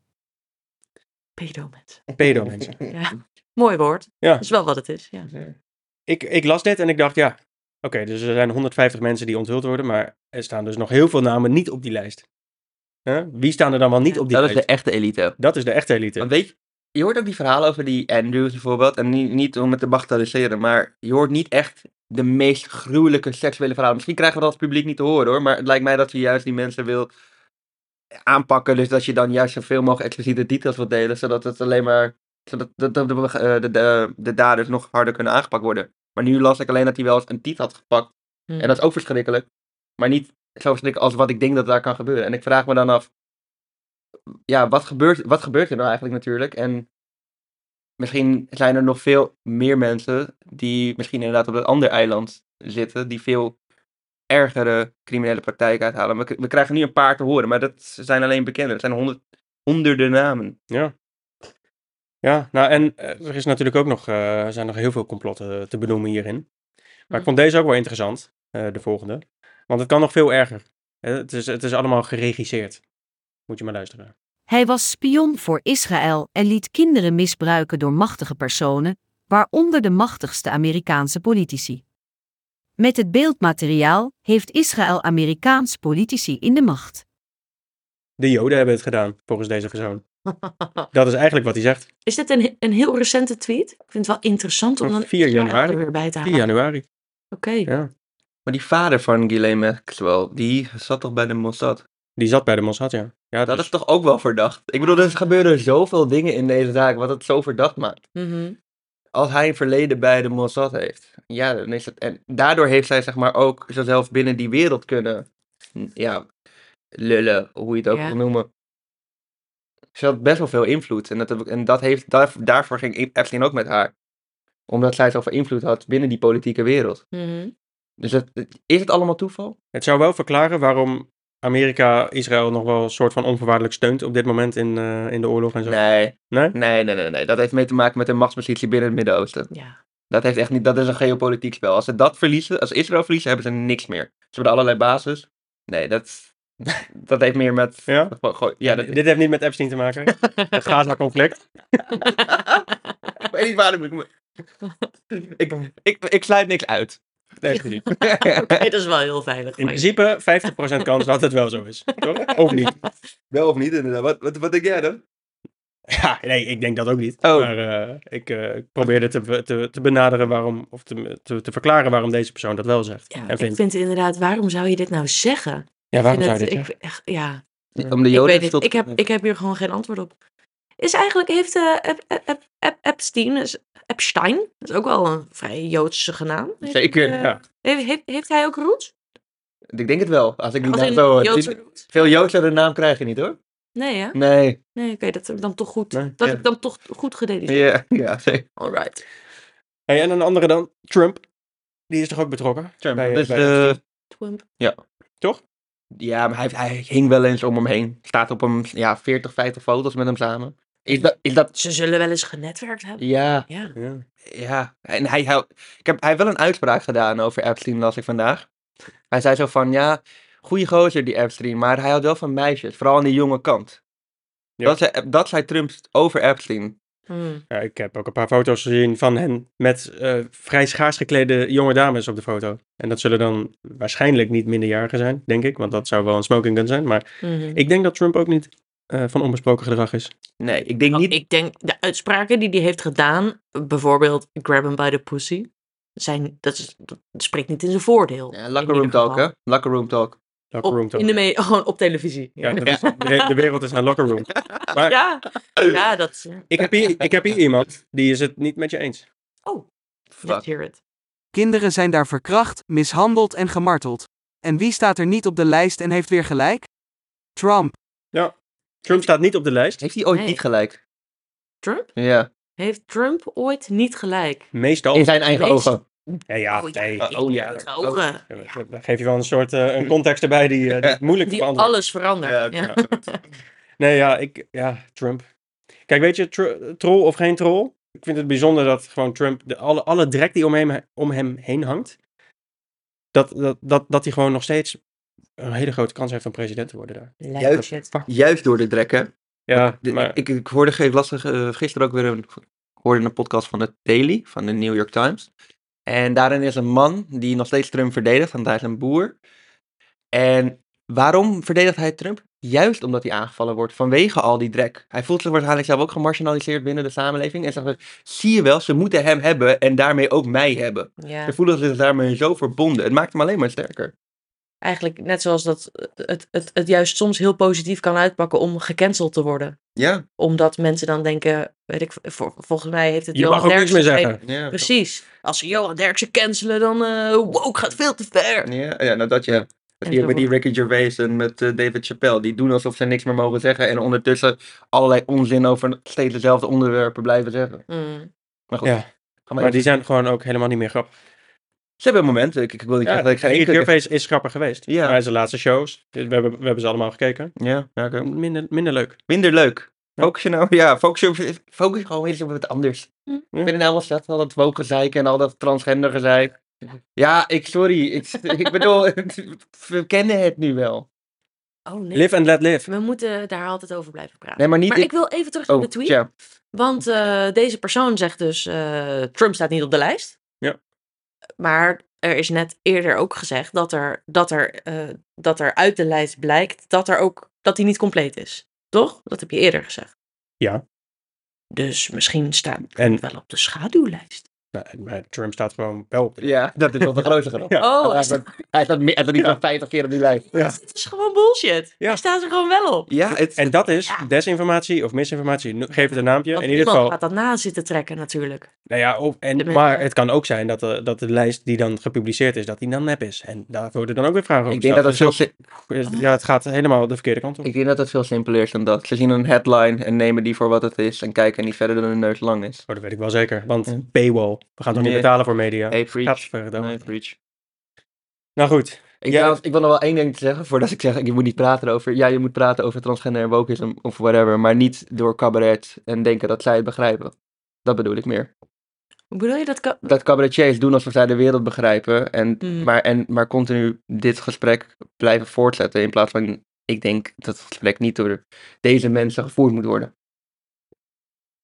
Pedomet.
Pedo
<laughs>
mensen.
Ja. Mooi woord.
Ja.
Dat is wel wat het is. Ja.
Ik, ik las dit en ik dacht, ja, oké, dus er zijn 150 mensen die onthuld worden, maar er staan dus nog heel veel namen niet op die lijst. Hè? Wie staan er dan wel niet op die
Dat is
lijst?
de e- echte elite.
Dat is de echte elite.
Want weet je, je hoort ook die verhalen over die Andrews bijvoorbeeld, en niet, niet om het te bagatelliseren, maar je hoort niet echt de meest gruwelijke seksuele verhalen. Misschien krijgen we dat als publiek niet te horen hoor, maar het lijkt mij dat je juist die mensen wil aanpakken, dus dat je dan juist zoveel mogelijk expliciete details wilt delen, zodat het alleen maar Zodat dat, dat de, eh, de, de, de daders nog harder kunnen aangepakt worden. Maar nu las ik alleen dat hij wel eens een tiet had gepakt.
Hmm.
En dat is ook verschrikkelijk. Maar niet zo verschrikkelijk als wat ik denk dat daar kan gebeuren. En ik vraag me dan af, ja, wat gebeurt, wat gebeurt er nou eigenlijk natuurlijk? En misschien zijn er nog veel meer mensen die misschien inderdaad op dat ander eiland zitten, die veel ergere criminele praktijken uithalen. We, k- we krijgen nu een paar te horen, maar dat zijn alleen bekenden. Dat zijn honderd, honderden namen.
Ja. Ja, nou en eh, er is natuurlijk ook nog, eh, zijn nog heel veel complotten eh, te benoemen hierin. Maar ik
Mhm.
vond deze ook wel interessant, eh, de volgende. Want het kan nog veel erger. Eh, het, is, het is allemaal geregisseerd. Moet je maar luisteren.
Hij was spion voor Israël en liet kinderen misbruiken door machtige personen, waaronder de machtigste Amerikaanse politici. Met het beeldmateriaal heeft Israël Amerikaans politici in de macht.
De Joden hebben het gedaan, volgens deze persoon.
<laughs>
Dat is eigenlijk wat hij zegt.
Is dit een, een heel recente tweet? Ik vind het wel interessant om
Van
dan
4
Israël
januari.
er weer bij te
4
halen.
januari.
Oké.
Ja.
Maar die vader van Ghislaine Maxwell, die zat toch bij de Mossad?
Die zat bij de Mossad, ja. ja
Dat
dus-
is toch ook wel verdacht? Ik bedoel, er gebeuren zoveel dingen in deze zaak wat het zo verdacht maakt.
Mhm.
Als hij een verleden bij de Mossad heeft, ja, dan is het... En daardoor heeft zij zeg maar ook zichzelf binnen die wereld kunnen, mm, ja, lullen, hoe je het ook
Ja.
wil noemen. Ze had best wel veel invloed en, dat, heb ik- en dat heeft, daar, daarvoor ging Epstein ook met haar. Omdat zij zoveel invloed had binnen die politieke wereld.
mhm.
Dus dat, is het allemaal toeval?
Het zou wel verklaren waarom Amerika Israël nog wel een soort van onvoorwaardelijk steunt op dit moment in, eh, in de oorlog en zo.
Nee,
Nee?
nee, nee, nee, nee. Dat heeft mee te maken met de machtspositie binnen het Midden-Oosten.
Ja.
Dat, heeft echt niet, dat is een geopolitiek spel. Als ze dat verliezen, als Israël verliezen, hebben ze niks meer. Ze hebben allerlei basis. Nee, dat, <laughs> dat heeft meer met...
Ja?
gewoon- gewoon- ja dat,
Dit heeft niet met Epstein te maken. Het Gaza-conflict.
<laughs> ik weet niet waarom ik... me- ik, ik, ik sluit niks uit.
Nee, niet.
Dit is wel heel veilig.
In principe 50% kans dat het wel zo is. Toch? Of niet?
<laughs> Wel of niet, inderdaad. Wat, wat, wat denk jij dan?
Ja, nee, ik denk dat ook niet.
Oh.
Maar eh, ik eh, ik probeerde te, te, te benaderen waarom, of te, te, te verklaren waarom deze persoon dat wel zegt.
Ja,
en
ik
vindt.
vind inderdaad, waarom zou je dit nou zeggen? Ik
ja, waarom
vind
zou
het-
je dit
ik,
zeggen?
echt, ja,
Om de
ik
Joden
weet het.
tot-
Ik heb, ik heb hier gewoon geen antwoord op. Is eigenlijk, heeft eh, Ep- Ep- Ep- Ep- Epstein, is, Epstein, dat is ook wel een vrij Joodse genaam. Heeft-
Zeker,
eh,
ja.
Heeft, heeft, heeft hij ook roots?
Ik denk het wel. Als ik die
Als
naam
in
zo...
Joodse
die-
roots?
Veel Joodse naam krijg je niet, hoor.
Nee, hè?
Nee.
Nee, oké, dat heb ik dan toch goed,
Nee,
dat
ja.
heb ik dan toch goed gedediceerd.
Ja, ja zeker.
Alright.
Hey, en een andere dan, Trump. Die is toch ook betrokken?
Trump,
Bij, eh,
dus
bij
de-
Epstein?
Trump.
Ja, maar hij, hij hing wel eens om hem heen. Staat op hem, ja, 40, 50 foto's met hem samen. Is dat, is dat...
Ze zullen wel eens genetwerkt hebben.
Ja,
Ja.
Ja.
ja. En hij, hij, ik heb, hij heeft wel een uitspraak gedaan over Epstein, las ik vandaag. Hij zei zo van, ja, goede gozer die Epstein, maar hij houdt wel van meisjes. Vooral aan de jonge kant.
Ja.
Dat, zei, dat zei Trump over Epstein.
Hmm.
Ja, ik heb ook een paar foto's gezien van hen met eh, vrij schaars geklede jonge dames op de foto. En dat zullen dan waarschijnlijk niet minderjarigen zijn, denk ik. Want dat zou wel een smoking gun zijn. Maar
Mhm.
ik denk dat Trump ook niet eh, van onbesproken gedrag is.
Nee, ik denk
Nou,
niet...
Ik denk de uitspraken die hij heeft gedaan, bijvoorbeeld grab him by the pussy, zijn, dat, is, dat spreekt niet in zijn voordeel.
Ja,
in
locker
ieder
room talk,
geval.
hè? Locker room talk.
Locker room
Op,
talk.
in de me- <laughs> gewoon op televisie.
Ja,
Ja,
dat is- de, de wereld is naar locker
<laughs>
room. Maar
<laughs>
<laughs>
ja. ja dat is.
ik, heb hier, ik heb hier iemand, die is het niet met je eens.
Oh, let's
Fuck.
hear it.
Kinderen zijn daar verkracht, mishandeld en gemarteld. En wie staat er niet op de lijst en heeft weer gelijk? Trump.
Trump staat niet op de lijst.
Heeft hij ooit
Nee.
niet gelijk?
Trump?
Ja.
Heeft Trump ooit niet gelijk?
Meestal.
In zijn eigen
Lees-
ogen.
Ja, ja,
Oh,
nee.
ik-
Oh, ja.
de ogen.
Ja,
Ja,
dat- Dan geef je wel een soort eh, een context erbij die, eh, die
<laughs>
het moeilijk te
Die
beantwoorden
alles verandert.
Ja,
Ja,
Nee, ja, ik, ja, Trump. Kijk, weet je, tr- troll of geen troll? Ik vind het bijzonder dat gewoon Trump, de, alle, alle drek die om hem, om hem heen hangt, dat, dat, dat, dat hij gewoon nog steeds een hele grote kans heeft om president te worden daar.
Lijp
Juist.
shit.
Juist door de drek, hè?
Ja,
De-
maar
ik, ik hoorde ge- ik las er, eh, gisteren ook weer een, hoorde een podcast van de Daily, van de New York Times. En daarin is een man die nog steeds Trump verdedigt, want hij is een boer. En waarom verdedigt hij Trump? Juist omdat hij aangevallen wordt vanwege al die drek. Hij voelt zich waarschijnlijk zelf ook gemarginaliseerd binnen de samenleving. En zegt, dus, zie je wel, ze moeten hem hebben en daarmee ook mij
<laughs>
hebben.
Ja.
Ze voelen zich daarmee zo verbonden. Het maakt hem alleen maar sterker.
Eigenlijk net zoals dat het, het, het juist soms heel positief kan uitpakken om gecanceld te worden.
Ja.
Omdat mensen dan denken, weet ik, vol- volgens mij heeft het
Je mag
Johan
ook niks meer
Derksen-
zeggen.
ja.
Precies. Als ze Johan Derksen cancelen, dan eh woke gaat veel te ver.
Ja, ja nou dat je.
En
Die, met
dubbel.
die Ricky Gervais en met eh, David Chappelle. Die doen alsof ze niks meer mogen zeggen. En ondertussen allerlei onzin over steeds dezelfde onderwerpen blijven zeggen.
Mm.
Maar goed.
Ja,
gaan we
Maar die
even-
zijn gewoon ook helemaal niet meer grappig.
Ze hebben momenten. Ik, ik wil
Ja,
niet zeggen dat ik ga
Ricky
inkikken.
Gervais is grappig geweest.
Ja.
Maar hij is de laatste shows. We hebben, we hebben ze allemaal gekeken.
Ja, ja oké.
Minder, minder leuk.
minder leuk.
Ja.
Focus je nou, <laughs> ja, focus, je- focus gewoon eens op wat anders.
Hm.
Ik vind het nou wel slecht, al dat woke gezeik en al dat transgender gezeik. Ja, ik, sorry, ik, <laughs> ik bedoel, we kennen het nu wel.
Oh nee.
Live and let live.
We moeten daar altijd over blijven praten.
Nee, maar niet... Oh,
maar ik wil even terug naar de tweet.
ja.
Want eh, deze persoon zegt dus, eh, Trump staat niet op de lijst.
Ja.
Maar er is net eerder ook gezegd dat er, dat er, eh, dat er uit de lijst blijkt dat, er ook, dat hij niet compleet is. Toch? Dat heb je eerder gezegd.
Ja.
Dus misschien staat Trump
En-
wel op de schaduwlijst.
Nou, maar Trump staat gewoon wel op. de-
ja, dat is wel de grootste grap.
Ja.
Oh,
hij
hij staat,
staat, hij staat, meer- hij staat niet
Ja.
van 50 keer op die lijst.
Ja.
dit is gewoon bullshit.
Ja.
Hij staat er gewoon wel op.
Ja, het,
En dat is
Ja.
desinformatie of misinformatie. No- Geef het een naampje.
Want
in ieder
niemand
geval.
gaat dat na zitten trekken natuurlijk.
Nou ja, of- en,
De
maar
mensen-
het kan ook zijn dat de, dat de lijst die dan gepubliceerd is, dat die dan nep is. En daar worden dan ook weer vragen over
ik, denk dat het
gesteld.
veel, si-
Dus ook- Ja, het gaat helemaal de verkeerde kant op.
ik denk dat het veel simpeler is dan dat. Ze zien een headline en nemen die voor wat het is en kijken niet verder dan hun neus lang is.
Oh, dat weet ik wel zeker. Want
Ja.
paywall. We gaan toch niet
Nee.
betalen voor media.
Hey, preach.
Gadverdamme.
Nee, preach.
Nou goed.
Ik,
Ja.
trouwens, ik wil nog wel één ding zeggen, voordat ik zeg, ik moet niet praten over, ja, je moet praten over transgender en wokeism of whatever, maar niet door cabaret en denken dat zij het begrijpen. Dat bedoel ik meer.
Hoe bedoel je dat? kan-
Dat cabaretiers doen alsof zij de wereld begrijpen, en,
Mm.
maar, en, maar continu dit gesprek blijven voortzetten, in plaats van, ik denk dat het gesprek niet door deze mensen gevoerd moet worden.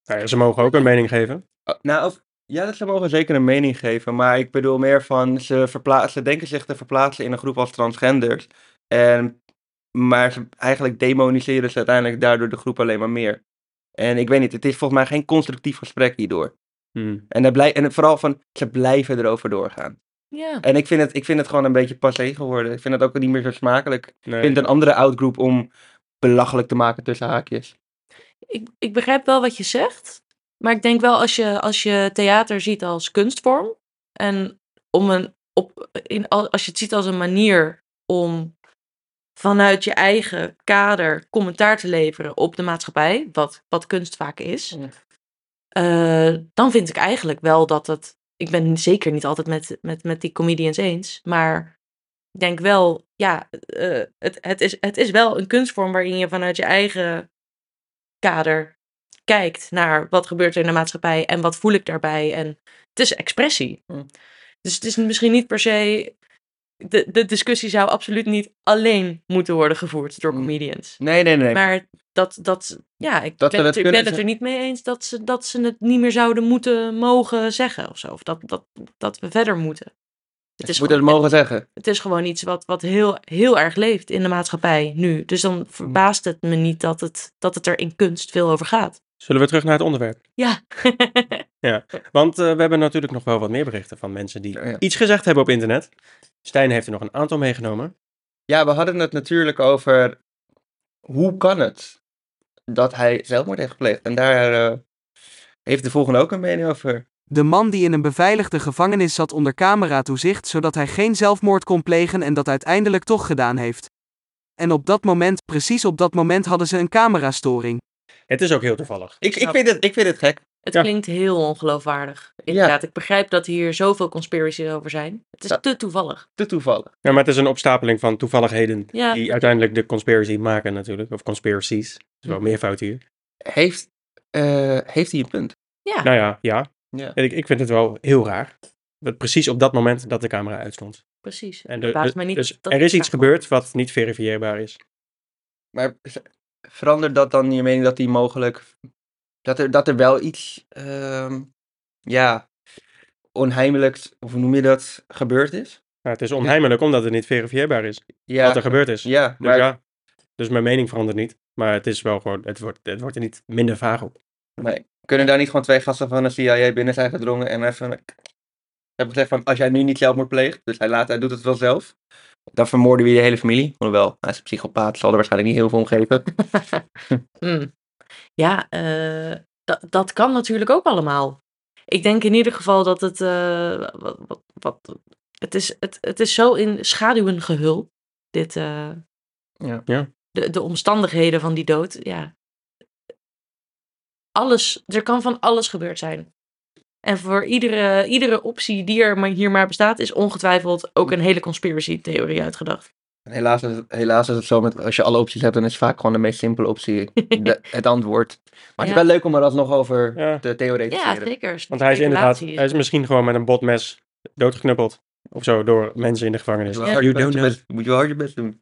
Nou ja, ze mogen ook een mening geven.
Oh, Nou, of, ja, dat ze mogen zeker een mening geven, maar ik bedoel meer van ze, verpla- ze denken zich te verplaatsen in een groep als transgenders. En, maar ze, eigenlijk demoniseren ze uiteindelijk daardoor de groep alleen maar meer. En ik weet niet, het is volgens mij geen constructief gesprek hierdoor.
Hmm.
En, dat blij- en vooral van, ze blijven erover doorgaan.
Ja.
En ik vind, het, ik vind het gewoon een beetje passé geworden. Ik vind het ook niet meer zo smakelijk.
Nee.
Ik vind het een andere outgroep om belachelijk te maken tussen haakjes.
ik, ik begrijp wel wat je zegt. Maar ik denk wel als je, als je theater ziet als kunstvorm. En om een, op, in, al- als je het ziet als een manier om vanuit je eigen kader commentaar te leveren op de maatschappij. Wat, wat kunst vaak is.
Ja.
eh, dan vind ik eigenlijk wel dat het. Ik ben zeker niet altijd met, met, met die comedians eens. Maar ik denk wel, ja, eh, het, het, is, het is wel een kunstvorm waarin je vanuit je eigen kader kijkt naar wat gebeurt er in de maatschappij en wat voel ik daarbij. En het is expressie.
Hm.
Dus het is misschien niet per se. De, de discussie zou absoluut niet alleen moeten worden gevoerd door
Hm.
comedians.
Nee, nee, nee.
Maar dat, dat ja, ik
Dat
ben,
we
het,
het
ik ben
kunnen-
het er niet mee eens dat ze, dat ze het niet meer zouden moeten mogen zeggen of zo. Of dat, dat, dat we verder moeten. Het is,
Moet het
gewoon,
mogen zeggen.
het is gewoon iets wat, wat heel, heel erg leeft in de maatschappij nu. Dus
Mm.
dan verbaast het me niet dat het, dat het er in kunst veel over gaat.
Zullen we terug naar het onderwerp?
Ja. <laughs>
Want eh, we hebben natuurlijk nog wel wat meer berichten van mensen die
Ja, ja.
iets gezegd hebben op internet. Stijn heeft er nog een aantal meegenomen.
Ja, we hadden het natuurlijk over hoe kan het dat hij zelfmoord heeft gepleegd. En daar eh, heeft de volgende ook een mening over.
De man die in een beveiligde gevangenis zat onder cameratoezicht zodat hij geen zelfmoord kon plegen en dat uiteindelijk toch gedaan heeft. En op dat moment, precies op dat moment hadden ze een camerastoring.
Het is ook heel toevallig.
Ik, ik, vind, het, ik vind het gek.
Het
Ja.
klinkt heel ongeloofwaardig. Inderdaad, ik begrijp dat hier zoveel conspiracies over zijn. Het is
Ja.
te toevallig.
Te toevallig.
Ja, maar het is een opstapeling van toevalligheden
Ja.
die uiteindelijk de conspiracy maken natuurlijk. Of conspiracies. Er is wel meer fout hier.
Heeft, eh, heeft hij een punt?
Ja.
Nou ja, ja.
Ja.
En Ik, ik vind het wel heel raar. Dat precies op dat moment dat de camera uitstond.
Precies.
En
Het
de-
verbaast
de-
mij niet
dus er
dat het
is iets
daar komt.
gebeurd wat niet verifieerbaar is.
Maar z- verandert dat dan je mening dat hij mogelijk... Dat er, dat er wel iets, ehm, ja, onheimelijks, of hoe noem je dat, gebeurd is?
Maar Nou, het is onheimelijk omdat het niet verifieerbaar is.
Ja,
Wat er gebeurd is.
ja
Dus
maar
ja, dus mijn mening verandert niet. Maar het is wel gewoon, het wordt, het wordt er niet minder vaag op.
Nee. Kunnen daar niet gewoon twee gasten van de CIA binnen zijn gedrongen en even... Heb gezegd van, als jij nu niet zelfmoord pleegt, dus hij laat, hij doet het wel zelf. Dan vermoorden we de hele familie. Hoewel, hij is een psychopaat, zal er waarschijnlijk niet heel veel om geven.
Hmm. Ja, eh, da- dat kan natuurlijk ook allemaal. Ik denk in ieder geval dat het. eh, wat, wat, wat- het, is, het, het is zo in schaduwen gehuld. Dit, eh,
Ja.
Ja.
De, de omstandigheden van die dood. Ja. Alles, er kan van alles gebeurd zijn. En voor iedere, iedere optie die er maar hier maar bestaat, is ongetwijfeld
Hm.
ook een hele conspiracy-theorie uitgedacht.
En helaas, is het, helaas is het zo, met, als je alle opties hebt, dan is vaak gewoon de meest simpele
<laughs>
optie de- het antwoord. Maar het
Ja.
is wel leuk om er alsnog over
Ja.
te theoretiseren.
Ja, zeker.
Want hij is inderdaad,
Speculatie
hij is misschien gewoon met een botmes doodgeknuppeld. Of zo, door mensen in de gevangenis.
Dus Moet je wel hard je
You don't
best-
know.
best- Moet je wel hard je best doen.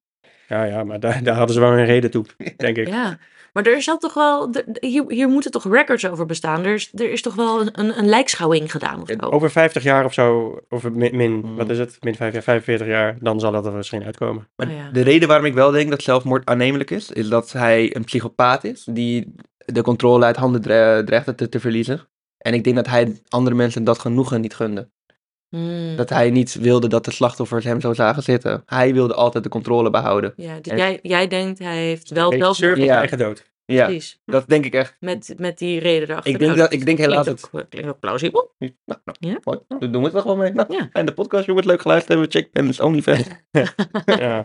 Ja, ja, maar daar, daar hadden ze wel een reden toe, denk ik.
Ja, maar er is dat toch wel. d- d- Hier, hier moeten toch records over bestaan? Er is, er is toch wel een, een, een lijkschouwing gedaan of
Het-
zo?
Over 50 jaar of zo, of min, min-
Mm.
wat is het? Min 5 jaar, 45 jaar, dan zal dat er misschien uitkomen.
Maar
Oh ja.
de reden waarom ik wel denk dat zelfmoord aannemelijk is, is dat hij een psychopaat is die de controle uit handen dre- eh, dreigde te, te verliezen. En ik denk dat hij andere mensen dat genoegen niet gunde.
Hmm.
Dat hij niet wilde dat de slachtoffers hem zo zagen zitten. Hij wilde altijd de controle behouden.
ja, dus
en-
jij, jij denkt hij heeft wel
Beetje
zelf.
surf op
Ja.
zijn eigen
<laughs>
dood.
Ja,
Precies.
dat denk ik echt.
Met, met die reden erachter.
Ik denk,
Nou,
dat, ik denk helaas
klinkt
dat...
ook, klinkt ook plausibel.
Nou, nou,
Ja.
mooi. Dan doen we het er gewoon mee. Nou,
Ja.
En de podcast, jongens, leuk geluisterd hebben. Check Pennis OnlyFans.
Ja.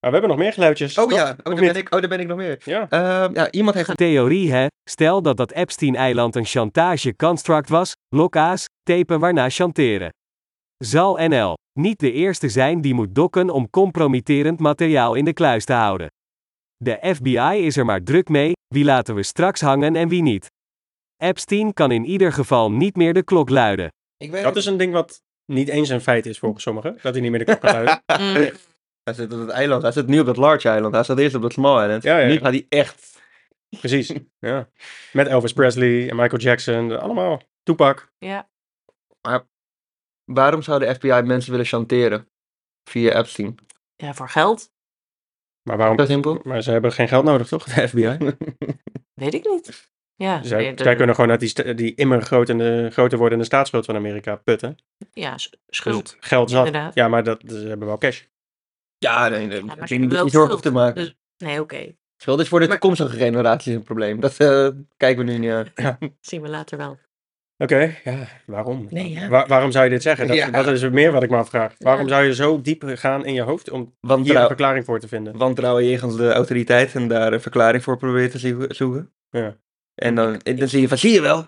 Maar we hebben nog meer geluidjes.
Oh
toch?
ja, oh,
Of
daar
niet?
ben ik, oh, daar ben ik nog meer.
Ja.
Ehm, ja, iemand heeft
Theorie hè, stel dat dat Epstein-eiland een chantage-construct was, lokaas, tapen waarna chanteren. Zal NL niet de eerste zijn die moet dokken om compromitterend materiaal in de kluis te houden. De FBI is er maar druk mee, wie laten we straks hangen en wie niet. Epstein kan in ieder geval niet meer de klok luiden.
Ik weet
Dat is een ding wat niet eens een feit is volgens sommigen. Dat hij niet meer de
<laughs>
klok kan luiden.
Mm.
Hij zit op het eiland. Hij zit nu op dat large eiland. Hij zat eerst op dat small island.
Ja, ja,
Nu
ja.
gaat hij echt.
Precies. Ja. Met Elvis Presley en Michael Jackson. Allemaal. Toepak.
Ja.
Waarom zou de FBI mensen willen chanteren? Via Epstein.
ja, voor geld.
Maar waarom?
Zo simpel.
Maar ze hebben geen geld nodig, toch? De FBI.
Weet ik niet. Ja,
Zij,
nee, de-
zij kunnen gewoon uit die, sta- die immer grotende, groter wordende staatsschuld van Amerika putten.
ja s-
Dus
schuld.
geld zat.
Inderdaad.
Ja, maar dat, ze hebben wel cash.
Ja, nee, nee.
maar
ik
ze
denk niet
hebben
dat
wel
je zorgen
schuld.
hoeft te maken.
Dus- Nee, oké.
Schuld is voor de
Maar-
toekomstige generaties een probleem. Dat eh, kijken we nu niet aan.
Zien we later wel.
Oké, ja, waarom?
Nee, ja.
Wa- waarom zou je dit zeggen? Dat,
Ja.
dat is meer wat ik me afvraag. Waarom zou je zo diep gaan in je hoofd om hier een
<laughs> Wantrouw,
verklaring voor te vinden?
wantrouwen jegens de autoriteit en daar een verklaring voor proberen te zie- zoeken.
Ja.
En dan, en dan zie je van, zie je wel?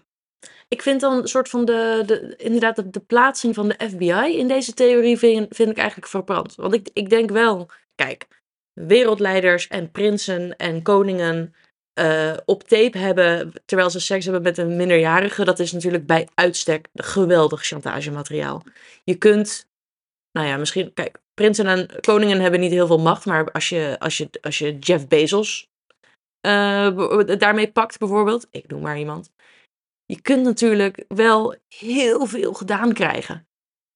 Ik vind dan een soort van de, de inderdaad de, de plaatsing van de FBI in deze theorie vind, vind ik eigenlijk verbrand. Want ik, ik denk wel, kijk, wereldleiders en prinsen en koningen eh, op tape hebben terwijl ze seks hebben met een minderjarige, dat is natuurlijk bij uitstek geweldig chantagemateriaal. Je kunt, nou ja, misschien, kijk, prinsen en koningen hebben niet heel veel macht, maar als je, als je, als je Jeff Bezos eh, be- daarmee pakt bijvoorbeeld, ik noem maar iemand je kunt natuurlijk wel heel veel gedaan krijgen.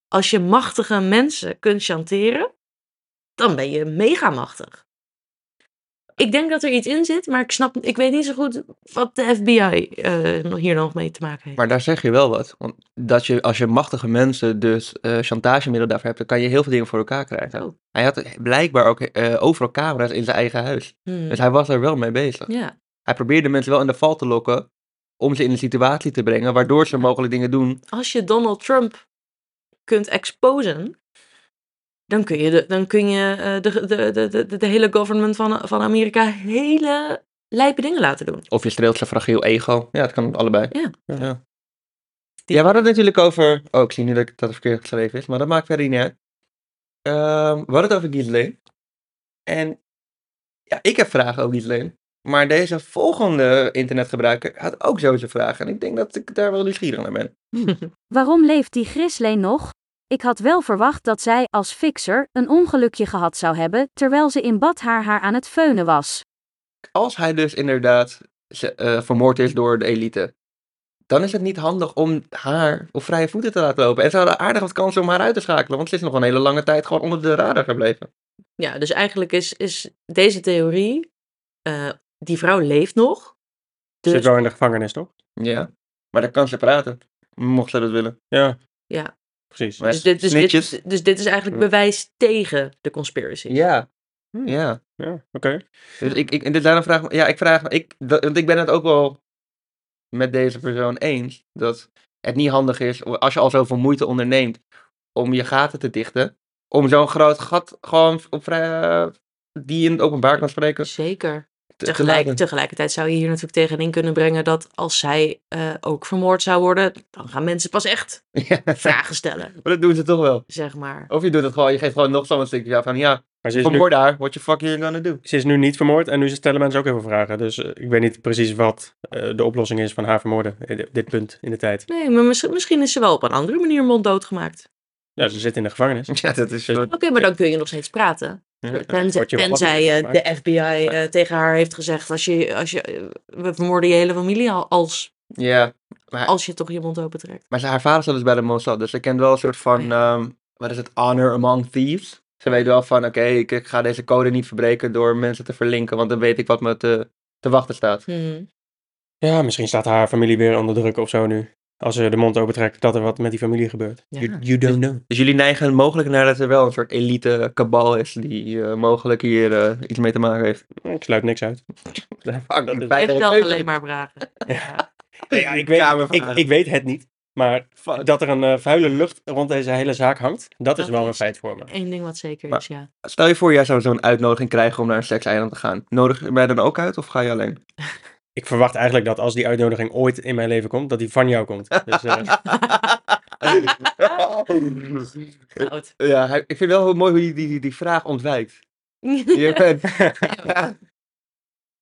Als je machtige mensen kunt chanteren, dan ben je mega machtig. Ik denk dat er iets in zit, maar ik snap, ik weet niet zo goed wat de FBI eh, nog- hier nog mee te maken heeft.
Maar daar zeg je wel wat. Want dat je, als je machtige mensen dus eh chantagemiddel daarvoor hebt, dan kan je heel veel dingen voor elkaar krijgen.
Oh.
Hij had blijkbaar ook eh, overal camera's in zijn eigen huis.
Hmm.
Dus hij was er wel mee bezig.
Ja,
Hij probeerde mensen wel in de val te lokken om ze in een situatie te brengen waardoor ze mogelijk dingen doen.
als je Donald Trump kunt exposen, dan kun je de, dan kun je, eh, de, de, de, de, de- de hele government van, van Amerika hele lijpe dingen laten doen.
Of je streelt zijn fragiel ego. Ja, het kan allebei.
Ja.
ja. Ja, we hadden het natuurlijk over... Oh, ik zie nu dat ik- dat het verkeerd geschreven is, maar dat maakt verder niet uit. Ehm, we hadden het over Ghislaine. En ja, ik heb vragen over Ghislaine. Maar deze volgende internetgebruiker had ook zo zijn vragen. En ik denk dat ik daar wel nieuwsgierig naar ben.
Waarom leeft die Grisley nog? Ik had wel verwacht dat zij, als fixer, een ongelukje gehad zou hebben terwijl ze in bad haar haar aan het feunen was.
Als hij dus inderdaad ze- eh, vermoord is door de elite... dan is het niet handig om haar op vrije voeten te laten lopen. En ze hadden aardig wat kansen om haar uit te schakelen. Want ze is nog een hele lange tijd gewoon onder de radar gebleven.
Ja, dus eigenlijk is, is deze theorie, eh, die vrouw leeft nog.
Zit
Dus,
wel in de gevangenis, toch?
Ja, maar dan kan ze praten. Mocht ze dat willen.
Ja.
ja.
precies.
Dus dit, dus,
Snitches.
dit, dus dit is eigenlijk
Ja.
bewijs tegen de conspiracy.
Ja. Ja.
Ja, oké.
Dus ik, ik, en dit daarom vraag ik me- ja, ik vraag me, ik, dat- want ik ben het ook wel met deze persoon eens, dat het niet handig is, om- als je al zoveel moeite onderneemt om je gaten te dichten, om zo'n groot gat gewoon op vrij, eh, die je in het openbaar kan spreken, te-
Zeker.
te
Tegelijk,
laten.
tegelijkertijd zou je hier natuurlijk tegenin kunnen brengen dat als zij eh, ook vermoord zou worden, dan gaan mensen pas
<laughs>
echt
<laughs> Ja,
vragen stellen,
maar dat doen ze toch wel.
zeg maar.
Of je doet het gewoon, je geeft gewoon nog zo'n stukje af van, ja,
Maar ze is, Dus nu,
vermoord daar, what the fuck are you gonna do? <laughs>
ze is nu niet vermoord en nu stellen mensen ook heel veel vragen. Dus eh, ik weet niet precies wat eh, de oplossing is van haar vermoorden. eh, dit- dit punt in de tijd.
Nee, maar misschien, misschien is ze wel op een andere manier monddood gemaakt.
Ja, ze zit in de gevangenis.
Ja, dat is
Dus-
zo.
Oké, maar dan kun je nog steeds praten.
Ja,
Tenzij,
word je wel
tenzij eh,
wakker.
de FBI eh, tegen haar heeft gezegd, als je, als je, eh, we vermoorden je hele familie al- als,
Ja, maar,
als je toch je mond open trekt.
maar ze- haar vader zat dus bij de Mossad, dus ze kent wel een soort van, ehm, wat is het, honor among thieves. Ze weet wel van, oké, ik, ik ga deze code niet verbreken door mensen te verlinken, want dan weet ik wat me te, te wachten staat.
Hmm.
Ja, misschien staat haar familie weer onder druk of zo nu. Als ze de mond opentrekt, dat er wat met die familie gebeurt.
Ja.
You, you don't know.
Dus jullie neigen mogelijk naar dat er wel een soort elite kabal is die eh, mogelijk hier eh, iets mee te maken heeft.
Ik sluit niks uit.
Fuck,
is-
Heeft wel alleen maar vragen. Ja.
Nee, ja, ik, weet, ik,
Kamervragen.
ik weet het niet. Maar
Fuck.
dat er een eh, vuile lucht rond deze hele zaak hangt, dat is
Dat
wel een
is-
feit voor me.
<laughs> Eén ding wat zeker
Maar-
is, ja.
Stel je voor, jij zou zo'n uitnodiging krijgen om naar een sekseiland te gaan. Nodig je mij dan ook uit of ga je alleen?
Ik verwacht eigenlijk dat als die uitnodiging ooit in mijn leven komt, dat die van jou komt. Dus, eh,
<laughs> Goud.
ja, hij- ik vind wel heel mooi hoe je die, die, die vraag ontwijkt. <laughs> Je bent...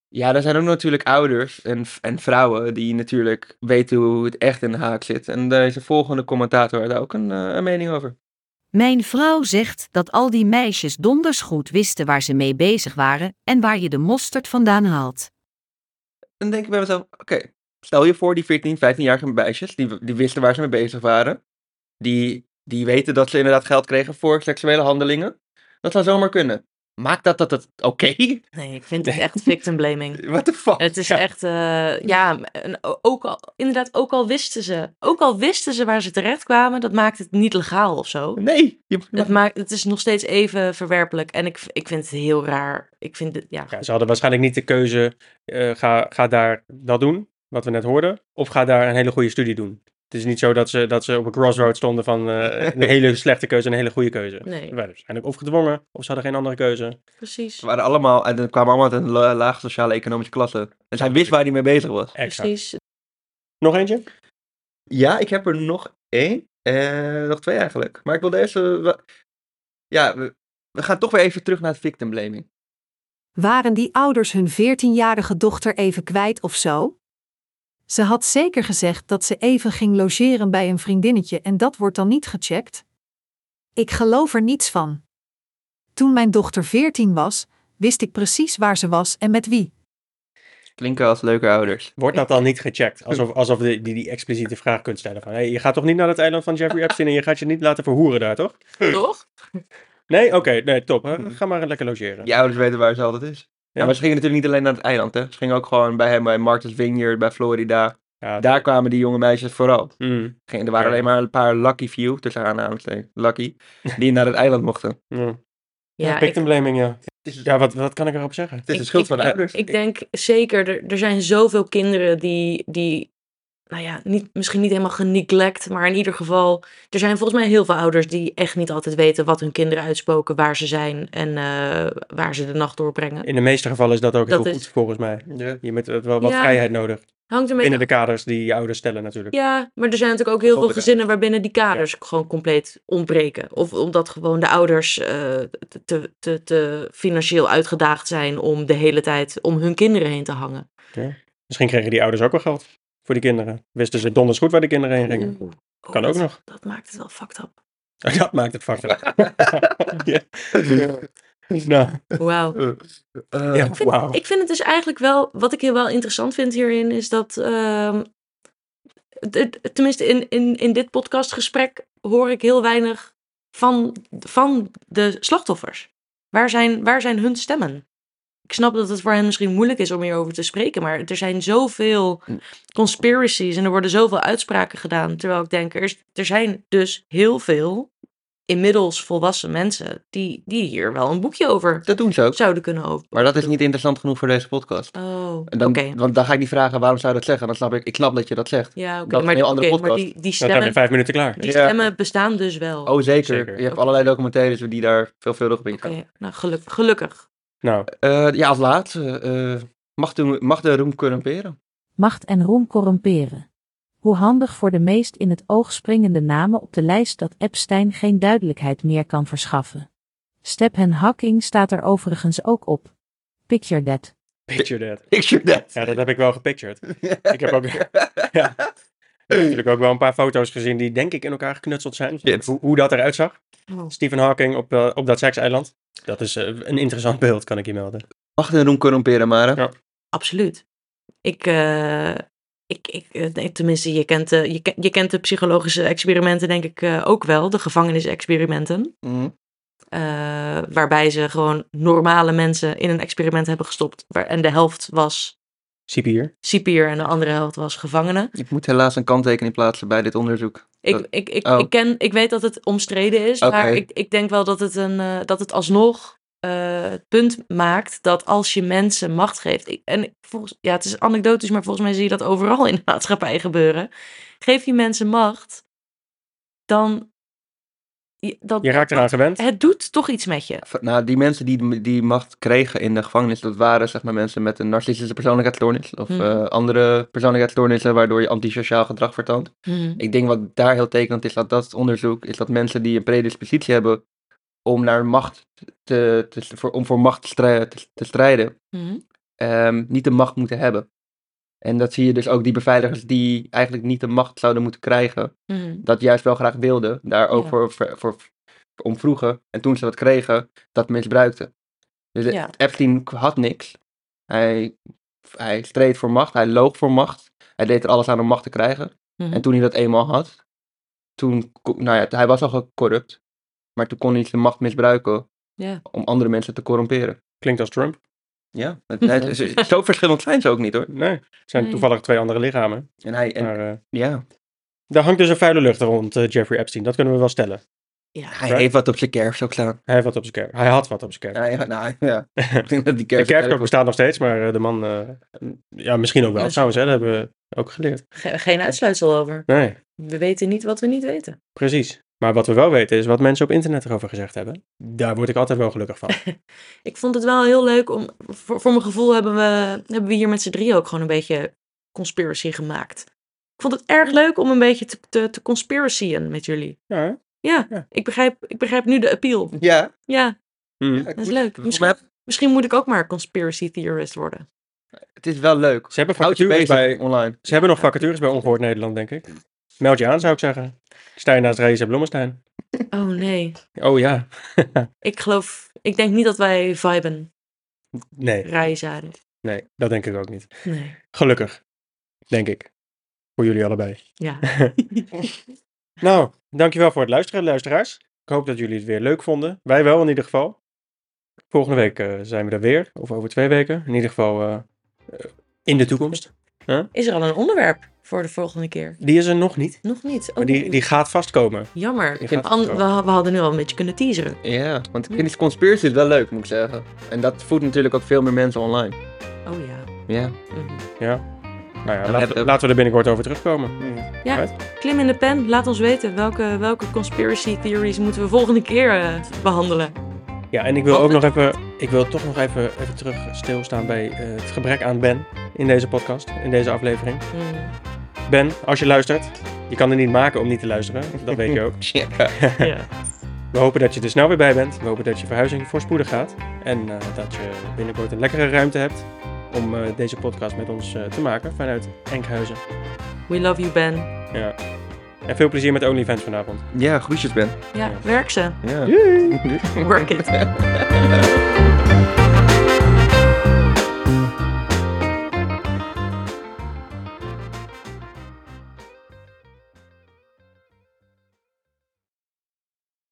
ja, er zijn ook natuurlijk ouders en, en vrouwen die natuurlijk weten hoe het echt in de haak zit. En deze volgende commentator had daar ook een, eh, een mening over.
Mijn vrouw zegt dat al die meisjes donders goed wisten waar ze mee bezig waren en waar je de mosterd vandaan haalt.
dan denk ik bij mezelf, oké, stel je voor die 14, 15-jarige meisjes, die, die wisten waar ze mee bezig waren, die, die weten dat ze inderdaad geld kregen voor seksuele handelingen. Dat zou zomaar kunnen. Maakt dat dat het oké?
<laughs>
<laughs>
Nee, ik vind het echt victim blaming.
What the fuck?
Het is
Oh, Ja.
echt, eh, ja, en o- ook al, inderdaad, ook al wisten ze, ook al wisten ze waar ze terecht kwamen, dat maakt het niet legaal of zo.
Nee, je,
Het, maakt, het is nog steeds even verwerpelijk en ik, ik vind het heel raar. Ik vind het, ja,
ja, ze hadden waarschijnlijk niet de keuze, eh, ga, ga daar dat doen, wat we net hoorden, of ga daar een hele goede studie doen. Het is niet zo dat ze, dat ze op een crossroad stonden van eh, een hele slechte keuze en een hele goede keuze.
Nee.
Ze werden waarschijnlijk of gedwongen, of ze hadden geen andere keuze.
precies.
ze waren allemaal, en dan kwamen allemaal uit een la- laag sociale economische klasse. Dus hij wist waar hij mee bezig was.
Extra.
Precies.
Nog eentje?
Ja, ik heb er nog één. Eh, nog twee eigenlijk. Maar ik wil deze... wa- ja, we, we gaan toch weer even terug naar het victim blaming.
Waren die ouders hun 14-jarige dochter even kwijt of zo? Ze had zeker gezegd dat ze even ging logeren bij een vriendinnetje en dat wordt dan niet gecheckt? Ik geloof er niets van. Toen mijn dochter 14 was, wist ik precies waar ze was en met wie.
Klinken als leuke ouders.
Wordt dat dan niet gecheckt? Alsof, alsof je die, die expliciete vraag kunt stellen van, hey, je gaat toch niet naar het eiland van Jeffrey Epstein en je gaat je niet laten verhoeren daar, toch?
Toch?
Nee? Oké, nee, top. hè. Ga maar lekker logeren.
Je ouders weten waar ze altijd is. Ja. maar ze gingen natuurlijk niet alleen naar het eiland, hè. Ze gingen ook gewoon bij hem, bij Martha's Vineyard, bij Florida.
Ja,
Daar kwamen die jonge meisjes vooral.
mm,
Gingen, er waren
Ja.
alleen maar een paar lucky few, tussen aanhalingstekens, lucky, die naar het eiland mochten.
mm.
Ja, ik,
Victim blaming, ja.
Het is,
Ja, wat, wat kan ik erop zeggen?
het is de
ik-
schuld
ik- eh,
van de
ja,
<laughs> ouders.
ik denk zeker, er, er zijn zoveel kinderen die, die nou ja, niet, misschien niet helemaal geneglect, maar in ieder geval, er zijn volgens mij heel veel ouders die echt niet altijd weten wat hun kinderen uitspoken, waar ze zijn en eh, waar ze de nacht doorbrengen.
In de meeste gevallen is dat ook
Dat
heel
is-
goed, volgens mij.
Ja.
Je hebt wel wat
Ja.
vrijheid nodig.
Hangt een beetje
Binnen de kaders die je ouders stellen natuurlijk.
Ja, maar er zijn natuurlijk ook heel veel
Zonder
gezinnen waarbinnen die kaders gewoon compleet ontbreken. Of omdat gewoon de ouders eh, te, te, te financieel uitgedaagd zijn om de hele tijd om hun kinderen heen te hangen.
Misschien kregen die ouders ook wel geld voor die kinderen. Wisten ze donders goed waar de kinderen heen gingen.
Oeh.
Kan
Oh,
ook
dat-
nog.
Dat maakt het wel fucked up.
<laughs> Dat maakt het vast. <laughs> ja. Nou,
Wauw.
Eh,
ja,
Ik vind,
wauw. Nou,
ik vind het dus eigenlijk wel, wat ik heel wel interessant vind hierin, is dat, ehm, het- het- tenminste in, in, in dit podcastgesprek hoor ik heel weinig van, van de slachtoffers. Waar zijn, waar zijn hun stemmen? ik snap dat het voor hen misschien moeilijk is om hierover te spreken, maar er zijn zoveel
Mm.
conspiracies en er worden zoveel uitspraken gedaan. Terwijl ik denk, er, is- er zijn dus heel veel inmiddels volwassen mensen die, die hier wel een boekje over
dat doen ze ook.
zouden kunnen over.
Maar dat is niet interessant genoeg voor deze podcast.
Oh,
En dan, Want dan ga ik niet vragen waarom zou je dat zeggen. Dan snap ik, ik snap dat je dat zegt.
Ja, oké,
Dat is
maar
een heel
die-
andere
oké, maar
podcast.
die- die Dan stemmen- heb je vijf minuten klaar. die
Ja.
stemmen bestaan dus wel.
Oh, zeker.
Zeker.
Je hebt allerlei documentaires die daar veelvuldig op ingaan.
Nou, geluk- gelukkig.
Nou.
ja, als laatste. eh, mag, de, mag de roem corrumperen? <laughs>
macht en roem corrumperen. Hoe handig voor de meest in het oog springende namen op de lijst dat Epstein geen duidelijkheid meer kan verschaffen. Stephen Hawking staat er overigens ook op. Picture that.
Picture that.
Picture that.
Ja, dat heb ik wel gepictured. ik heb ook... ja. Ik heb natuurlijk ook wel een paar foto's gezien die denk ik in elkaar geknutseld zijn. Hoe, hoe dat eruit zag.
Oh.
Stephen Hawking op, eh, op dat sekseiland. Dat is eh, een interessant beeld, kan ik je melden.
Mag de roem corrumperen, Mara?
Absoluut. Ik, eh, ik, ik eh, nee, tenminste, je kent, de, je, ken- je kent de psychologische experimenten denk ik eh, ook wel, de gevangenisexperimenten.
Mhm.
Eh, waarbij ze gewoon normale mensen in een experiment hebben gestopt. Waar, en de helft was
Cipier.
cipier en de andere helft was gevangenen.
Ik moet helaas een kanttekening plaatsen bij dit onderzoek.
Ik,
Dat-
ik, ik,
Oh.
ik, ken, ik weet dat het omstreden is, maar
Oké.
ik, ik denk wel dat het, een, eh, dat het alsnog eh, het punt maakt dat als je mensen macht geeft. ik- en ik- volgens, ja, het is anekdotisch, maar volgens mij zie je dat overal in de <laughs> maatschappij gebeuren. Geef je mensen macht, dan. je- Dat,
Je raakt eraan gewend.
Het doet toch iets met je.
V- Nou, die mensen die die macht kregen in de gevangenis, dat waren zeg maar mensen met een narcistische persoonlijkheidsstoornis of
Mhm.
eh, andere persoonlijkheidsstoornissen waardoor je antisociaal gedrag vertoont.
Mhm.
Ik denk wat daar heel tekenend is dat dat onderzoek is dat mensen die een predispositie hebben om naar macht te, te, voor, om voor macht te strij- te- te strijden,
Mhm.
ehm, niet de macht moeten hebben. En dat zie je dus ook die beveiligers die eigenlijk niet de macht zouden moeten krijgen,
Mhm.
dat juist wel graag wilden, daar ook
Ja.
voor, voor, voor om vroegen. En toen ze dat kregen, dat misbruikten. Dus
Ja.
ja. Epstein k- had niks. Hij, hij streed voor macht, hij loog voor macht. Hij deed er alles aan om macht te krijgen.
Mhm.
En toen hij dat eenmaal had, toen, ko- nou ja, hij was al corrupt. Maar toen kon hij zijn macht misbruiken
Ja.
om andere mensen te corromperen.
Klinkt als Trump.
Ja, het- nee, het is- eh, zo verschillend zijn ze ook niet hoor.
Nee, het zijn
Nee.
toevallig twee andere lichamen.
En hij, en,
Maar, eh,
ja.
Daar hangt dus een vuile lucht rond eh, Jeffrey Epstein. Dat kunnen we wel stellen.
Hij heeft wat op zijn kerf zo staan.
Hij heeft wat op zijn kerk. Hij had wat op zijn kerk.
Ja, ja, nou, ja. Ik denk dat die
De
kerf
kerk bestaat nog steeds, maar eh, de man... eh, ja, misschien ook wel
Ja,
trouwens. Hè, dat hebben we ook geleerd.
Ge- geen uitsluitsel over.
Nee,
We weten niet wat we niet weten.
precies. Maar wat we wel weten is wat mensen op internet erover gezegd hebben. Daar word ik altijd wel gelukkig
<laughs>
van.
Ik vond het wel heel leuk om. Voor, voor mijn gevoel hebben we, hebben we hier met z'n drie ook gewoon een beetje conspiracy gemaakt. Ik vond het erg leuk om een beetje te, te, te conspiracyen met jullie.
Ja,
ja, Ik, begrijp, ik begrijp nu de appeal.
Ja.
Ja,
Hm? Eh,
dat
is leuk. Misschien, misschien moet ik ook maar conspiracy theorist worden.
Het is wel leuk.
Ze hebben
Houd je
vacatures bij
bezig online.
Ze hebben nog vacatures bij Ongehoord Nederland, denk ik. Meld je aan, zou ik zeggen. Ik Sta je naast Reza Blommestein?
Oh nee.
Oh ja.
Ik geloof. Ik denk niet dat wij viben.
Nee,
Rijzaden.
nee, dat denk ik ook niet.
Nee.
Gelukkig, denk ik. Voor jullie allebei. <laughs>
Ja.
nou, dankjewel voor het luisteren, luisteraars. Ik hoop dat jullie het weer leuk vonden. Wij wel in ieder geval. Volgende week eh, zijn we er weer, of over twee weken. In ieder geval eh, eh, in de toekomst. Huh?
Is er al een onderwerp voor de volgende keer?
Die is er nog niet,
Nog niet. Oh,
maar die, die gaat vastkomen.
Jammer.
die gaat
An- we,
zo.
we hadden nu al een beetje kunnen teaseren.
Ja, want ik vind die conspiracy wel leuk, moet ik zeggen. En dat voedt natuurlijk ook veel meer mensen online.
Oh ja.
Ja.
Ehm,
Ja. Nou ja,
we
laten,
hebben-
we, laten we er binnenkort over terugkomen.
<laughs>
Ja,
Right?
klim in de pen. Laat ons weten welke, welke conspiracy theories moeten we volgende keer eh, behandelen.
Ja, en ik
Oh, eh,
wil ook nog even, ik wil toch nog even, even terug stilstaan bij eh, het gebrek aan Ben in deze podcast, in deze aflevering.
Ehm,
Ben, als je luistert, je kan er niet maken om niet te luisteren, dat
<laughs>
weet je ook. We hopen dat je er snel weer bij bent. We hopen dat je verhuizing voorspoedig gaat. En eh, dat je binnenkort een lekkere ruimte hebt om eh, deze podcast met ons eh, te maken vanuit Enkhuizen.
We love you, Ben.
Ja. En veel plezier met OnlyFans vanavond.
Ja, groetjes Ben.
<laughs> Ja, werk ze.
Ja.
Work it.